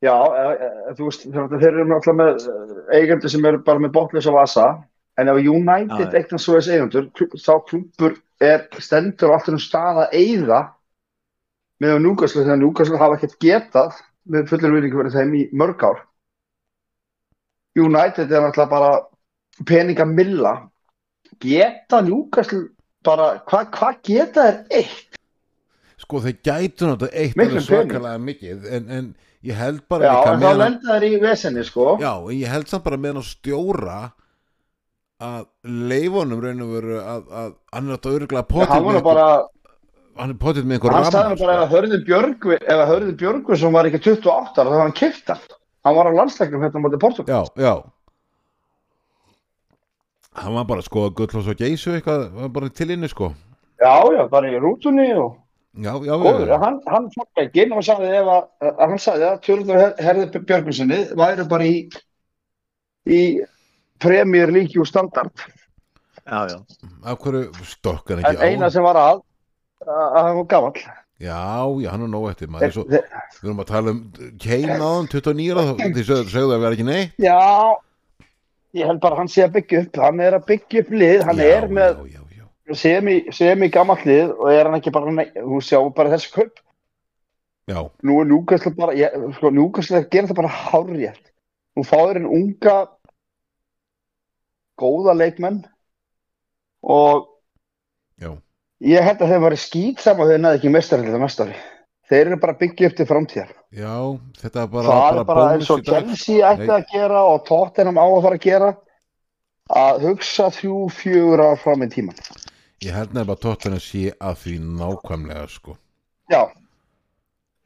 C: já, e, e, þú veist þeir, þeir eru náttúrulega með eh, eigendur sem eru bara með botlis og vasa en ef
B: Já,
C: United
B: já.
C: eignan svo þess eigendur klub- þá klúpur er stendur á alltaf um stað að eigða með að Núgaslu þegar Núgaslu hafa ekkert getað með fullur vinningu verið þeim í mörg ár United er náttúrulega bara peningamilla geta Núgaslu bara, hvað hva geta þér eitt?
A: sko þeir gætu náttúrulega eitt
C: Miklu
A: alveg
C: pening.
A: svakalega mikið en, en ég held bara
C: Já,
A: líka
C: en þá
A: meðan hann-
C: lenda þær í vesenni, sko.
A: Já, en ég held samt bara meðan á stjóra að leifunum raun og veru að, að hann er þetta örgulega
C: Já,
A: potið
C: hann var
A: með
C: nú bara,
A: einhver- hann er potið með einhver sko.
C: hann
A: ramma,
C: staðið bara ef að Hörður Björgu, ef að Hörður Björgu sem var ekki 28 ára, þá var hann kipta. Hann var á landsleiknum hérna á móti Portugal.
A: Já, já Hann var bara sko gullhás og geysu eitthvað, hann var bara til inni sko
C: Já, já, bara í rútunni og
A: Já, já,
C: góður.
A: já,
C: En Hann, hann fokk ekki inn og sagði ef að, að hann sagði að Tjörður Herður Björgu sinni væri bara í, í Premier League og standard.
B: Já, já.
A: af hverju stokk hann
C: En
A: ekki
C: eina
A: á
C: sem var að, að að hann var gamall.
A: Já, já, hann er nóg eftir maður
C: Þeir-
A: er svo,
C: þeir-
A: Við erum að tala um Kane áðan 29 ára, þá- því sögðu sögðu að vera ekki neitt
C: Já, ég held bara að hann sé að byggja upp, hann er að byggja upp lið, hann
A: já,
C: er með
A: já, já, já.
C: sem í, sem í gamalt lið og er hann ekki bara, nei, hún sjá bara þessi kaup
A: já,
C: nú er Newcastle bara, ég, sko Newcastle gerir það bara hárjætt hún fáður en unga góða leikmenn og
A: já,
C: ég held að þeir væri skýt saman þeir næði ekki mestarið þetta mestari þeir eru bara að byggja upp til framtíðar
A: já, þetta er bara
C: það er bara
A: bónus
C: eins
A: í
C: og
A: dag. sko.
C: Chelsea ætti
A: Nei.
C: að gera og Tottenham á að fara að gera að hugsa þrjú, fjögur ár fram í tíman
A: Ég held nefnilega að Tottenham sé að því nákvæmlega sko.
C: Já,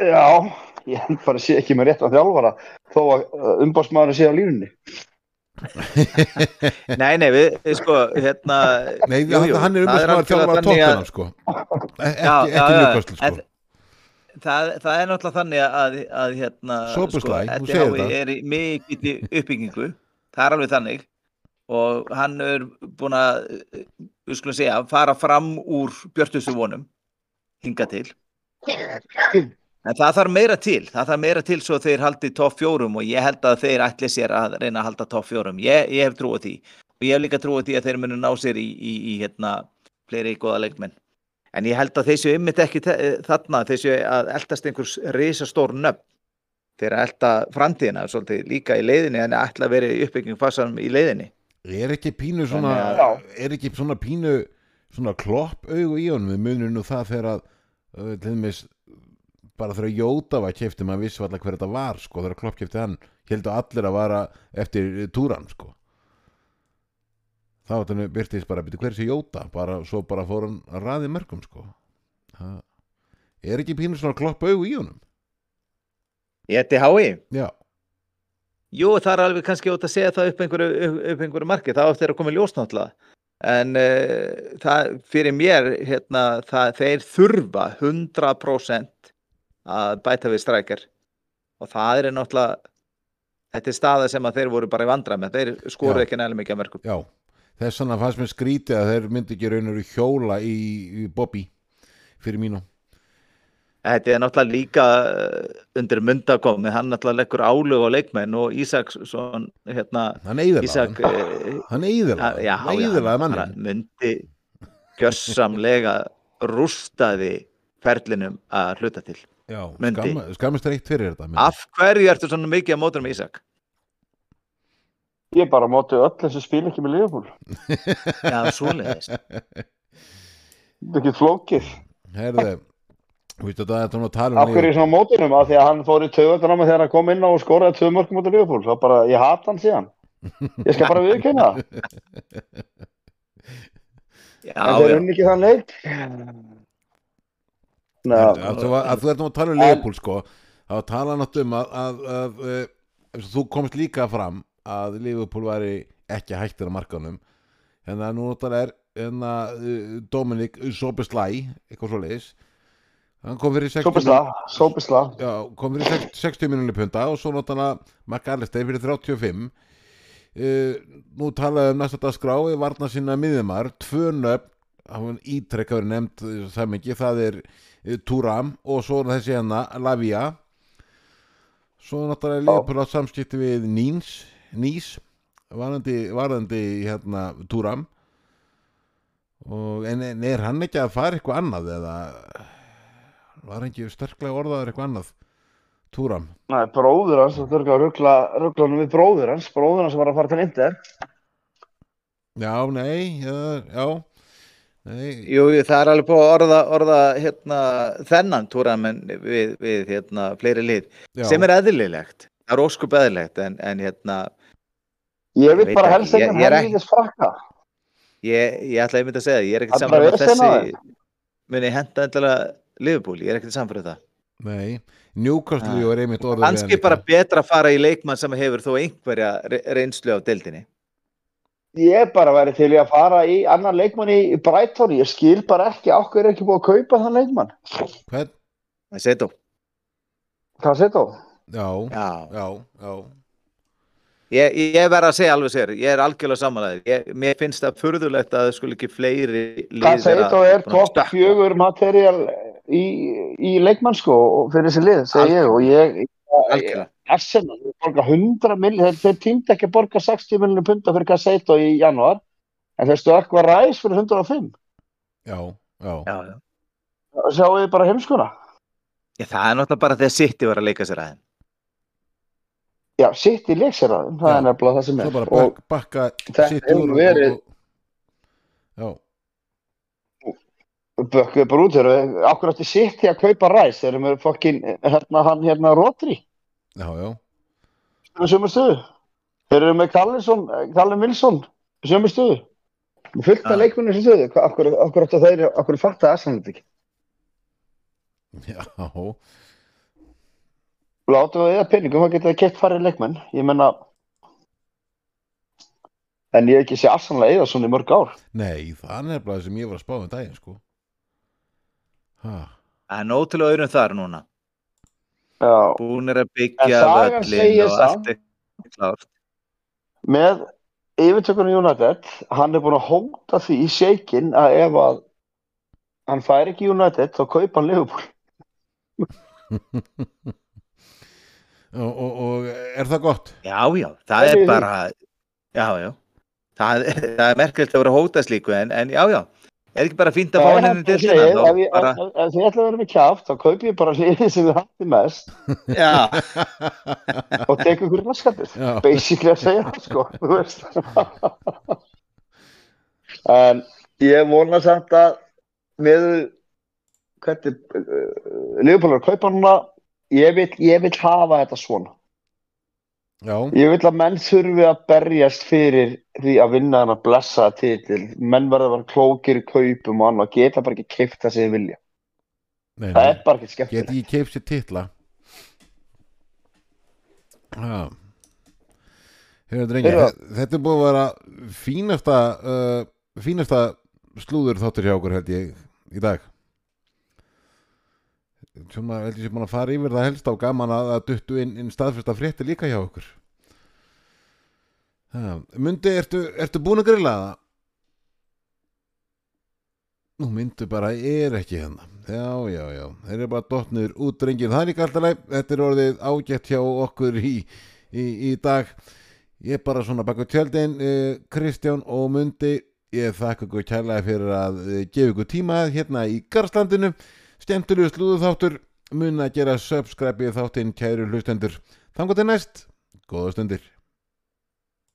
C: já, ég held bara að sé ekki með rétt að þjálfara þó að umbásmaðurinn sé á línunni.
B: Nei, nei, við, við sko, hérna...
A: Nei,
B: jú, jú,
A: hann er um
B: það
A: þess að
B: algjörlega
A: þjálfa
B: þannig að-
A: Tottenham sko. E- Ekki, ekki Newcastle sko.
B: en Það, það er náttúrulega þannig að, að hérna,
A: Sópuslæg, þú
B: ETH
A: segir það.
B: er í mikið uppbyggingu, það er alveg þannig og hann er búin að, eh, við skulum segja, fara fram úr björtustu vonum hinga til en það þarf meira til, það þarf meira til svo þeir haldi topp fjórum og ég held að þeir ætli sér að reyna að halda topp fjórum ég, ég hef trúið því og ég hef líka trúið því að þeir munu ná sér í, í, í hérna, fleiri góða leikmenn en ég held að þeir séu ymmit ekki þe- eh, þarna þeir séu að eldast einhvers risastór nöfn þeir að elda framtíðina svolítið líka í leiðinni en ætla að vera í uppbygging fasanum í leiðinni
A: Er ekki pínu svona,
B: Þannig
C: að-
A: er ekki svona pínu svona klopp augu í honum við munum nú það þegar að uh, til dæmis bara þegar Jóta var kefti maður vissi alltaf hver þetta var sko þegar klopp kefti hann heldur allir að vara eftir túran sko þá þannig byrtist bara byrja hversi Jóta bara, svo bara fór hann að raði mörgum sko ha. er ekki pínu svona klopp augu í honum
B: í E ETHI
A: já,
B: Jú, það er alveg kannski ótt að segja það upp einhverju, upp einhverju marki, það áttir að koma í ljós náttúrulega. En uh, það, fyrir mér, hérna, það, þeir þurfa 100% að bæta við strækjar og það er náttúrulega þetta er staða sem að þeir voru bara í vandra með þeir
A: Já.
B: skoru ekki nægilega mikið að mörgum
A: Já, þess vegna fannst mér skrítið að þeir myndi ekki raunur hjóla í, í Bobby fyrir mínu.
B: þetta er náttúrulega líka eh, undir mundakomi, hann náttúrulega leggur álög á leikmenn og Ísaks hérna,
A: Hann eyðilaði
B: Ísak
A: hann.
B: eh,
A: Hann
B: Já,
A: eyðilaði
B: já,
A: hann. Hann
B: já,
A: eyðilaði
B: hann
A: mannin.
B: myndi gjörsamlega rústaði ferlinum að hluta til
A: Já,
B: myndi.
A: skamma, skammast þér eitt fyrir þetta. myndi.
B: af hverju ertu svona mikið að móta um Ísak?
C: Ég bara móti öll þessu spil ekki með liðbúl.
B: Já, svoleiðis
C: Þetta er ekki flókið.
A: Herðu, veistu þetta þetta er nú að tala
C: Af
A: um
C: hverju
A: liðið.
C: er svona mótinum? Af því að hann fór í töðan á mig þegar hann kom inn á og skoraði tvö mörgum út af liðbúl. Það bara, ég hata hann síðan. Ég skal bara viðkynna það.
B: Já,
C: En þeir
B: já,
C: unni ekki þann leik. Ná,
A: Herðu, að þú- að Þú ert nú að tala um
C: En-
A: Leopold sko. Það var tala nátt um að, að, að, að þú komst líka fram að Leopold væri ekki hættur á markanum. Hérna nú náttúrulega er hérna, eh, Dominic Sobeslæ, eitthvað svo leiðis. Hann kom fyrir 60
C: sópisla, sópisla.
A: já, kom fyrir 60 60 miljonir punta og svo náttúrulega McAllister fyrir 35 uh, nú talaði um næsta dagskrá í varna sinna miðumar, tvö nöfn hann ítrekka verið nefnd samingi, það er uh, Turam og svo er þessi hérna Lavia svo náttúrulega Leopold á samskipti við Níns Nís varandi, varandi hérna Turam og en, en er hann ekki að fara eitthvað annað eða var ekki sterklega orðaður eitthvað annað Túram
C: Nei, bróður hans, þú þurfum að ruggla, ruggla hann við bróður hans. Bróður hans var að fara til Inder.
A: já, nei, já, já nei,
B: Jú, jú, það er alveg búið að orða, orða hérna, þennan túramenn við, við hérna, fleiri lið
A: já,
B: sem er eðlilegt, það er óskup eðlilegt en, en hérna,
C: Ég
B: Ég
C: vil
B: veit
C: bara
B: ekki,
C: helst
B: ég-
C: ekki
B: ég er
C: hann
B: ekki-
C: helvíðis frakka.
B: ég, ég ætla einmitt að segja það, ég er
C: Það
B: ekkert
C: er
B: samfæður
C: bara
B: að
C: vesen á
B: þessi muni henda endilega liðbúli, ég er ekkert samfæður það
A: nei Newcastle
B: Ah.
A: er einmitt orðið við hann
B: Kanski
A: líka.
B: bara betra að fara í leikmann sem hefur þó einhverja re- reynslu á deildinni.
C: Ég bara væri til í að fara í annan leikmann í í Brighton. Ég skil bara ekki á hverju er ekki búið að kaupa þann leikmann.
A: Hvern,
B: Það segir þú.
C: Hvað segir þú?
A: já,
B: Já.
A: já, já
B: Ég, ég verð að segja alveg sér, ég er algjörlega samanlæðið. Mér finnst það furðulegt að það skul ekki fleiri lið
C: Hvað segir þú er topp
B: stökkva.
C: fjögur materiál í, í leikmann sko og fyrir þessi lið, segi ég. Og ég,
B: Algjörlega.
C: Arsenal, þeir borga 100 mill, þeir, þeir týndi ekki að borga 60 millinu punta fyrir Cassetto í janúar, en þeir stökk var ræs fyrir 105.
A: já, já,
B: Já, já.
C: Sjáu þið bara heimskuna.
B: Ég, það er náttúrulega bara þegar City var að leika sér aðeins.
C: Já, sitt í leikseraðum, það
A: Já.
C: er nefnilega það sem
A: svo
C: er.
A: bara
C: Og
A: bak, bakka
C: þetta
A: sitt
C: hefur
A: úr og-
C: verið-
A: og- já,
C: bökkuðu bara út, þeir eru okkur átti sitt í að kaupa ræs, þeir eru með fokkin, hérna, hann, hérna, Rodri,
A: já, já,
C: sem er sömu stöðu. Þeir eru með Kallinsson, Kallin Wilson, sömu stöðu. Með Fullt af
B: Já.
C: leikmunni sem stöðu, okkur, okkur átti þeir, okkur fatta Arsenal þetta ekki.
A: já
C: látum við eða peningum, þá getur það kett farið leikmenn ég menna en ég hef ekki sé afsanlega eða svona í mörg ár
A: nei, það er nefnilega það sem ég var að spá um daginn sko ha,
B: Það er nótilega öðrum þar núna.
C: Já.
B: Búin er að
C: En
B: byggja
C: sagan
B: völlin
C: segir
B: og
C: samt-
B: allt er klárt.
C: með yfirtökunum United hann er búin að hóta því í shakein að ef að hann fær ekki United þá kaupa hann Liverpool
A: og, og, og er það gott?
B: Já, já, það
C: Pælið í
B: er
C: því.
B: bara, já, já. Það, það er merkilegt að vera að hóta slíku en, en já, já. Er ekki bara fínt að fá
C: En
B: henni
C: hann
B: til
C: segir,
B: þennan?
C: ef, ég,
B: bara...
C: ef, ef þið ætla að vera með kjáft þá kaupi ég bara liðið sem þið hattu mest
B: Já,
C: og tekur ykkur raskatið
A: já,
C: basically að segja það sko þú veist. en ég vona samt að með hvernig uh, Leopold er að kaupa núna ég vil, ég vil hafa þetta svona
A: já,
C: ég vil að menn þurfi að berjast fyrir því að vinna hann að blessa titil menn verða að vera klókir í kaupum og annað, geta bara ekki keifta sig vilja,
A: nei,
C: það
A: nei
C: er bara ekki skemmt
A: Get ég keif sér titla Já Hérna drengi
C: Heyrðu.
A: þe- Þetta er búið að vera fínasta uh, fínasta slúður þáttur hjá okkur held ég í dag Svona held ég sem búin að fara yfir það helst á gaman að að duttu inn, inn staðfesta frétti líka hjá okkur Já, Mundi, ertu, ertu búin að grilla það? Nú, myndu bara er ekki hérna. Já, já, já. Þeir eru bara dottnir út drengir. Það er líka alltaf leið. Þetta er orðið ágætt hjá okkur í, í, í dag. Ég er bara svona baka tjöldin, eh, Kristján og Mundi. Ég þakka ykkur kærlega fyrir að eh, gefa ykkur tíma hérna í Garstlandinu. Skemmtilegu slúðuþáttur. Mun að gera subscribe í þáttinn, kæru hlustendur. Þangar til næst. Góða stundir.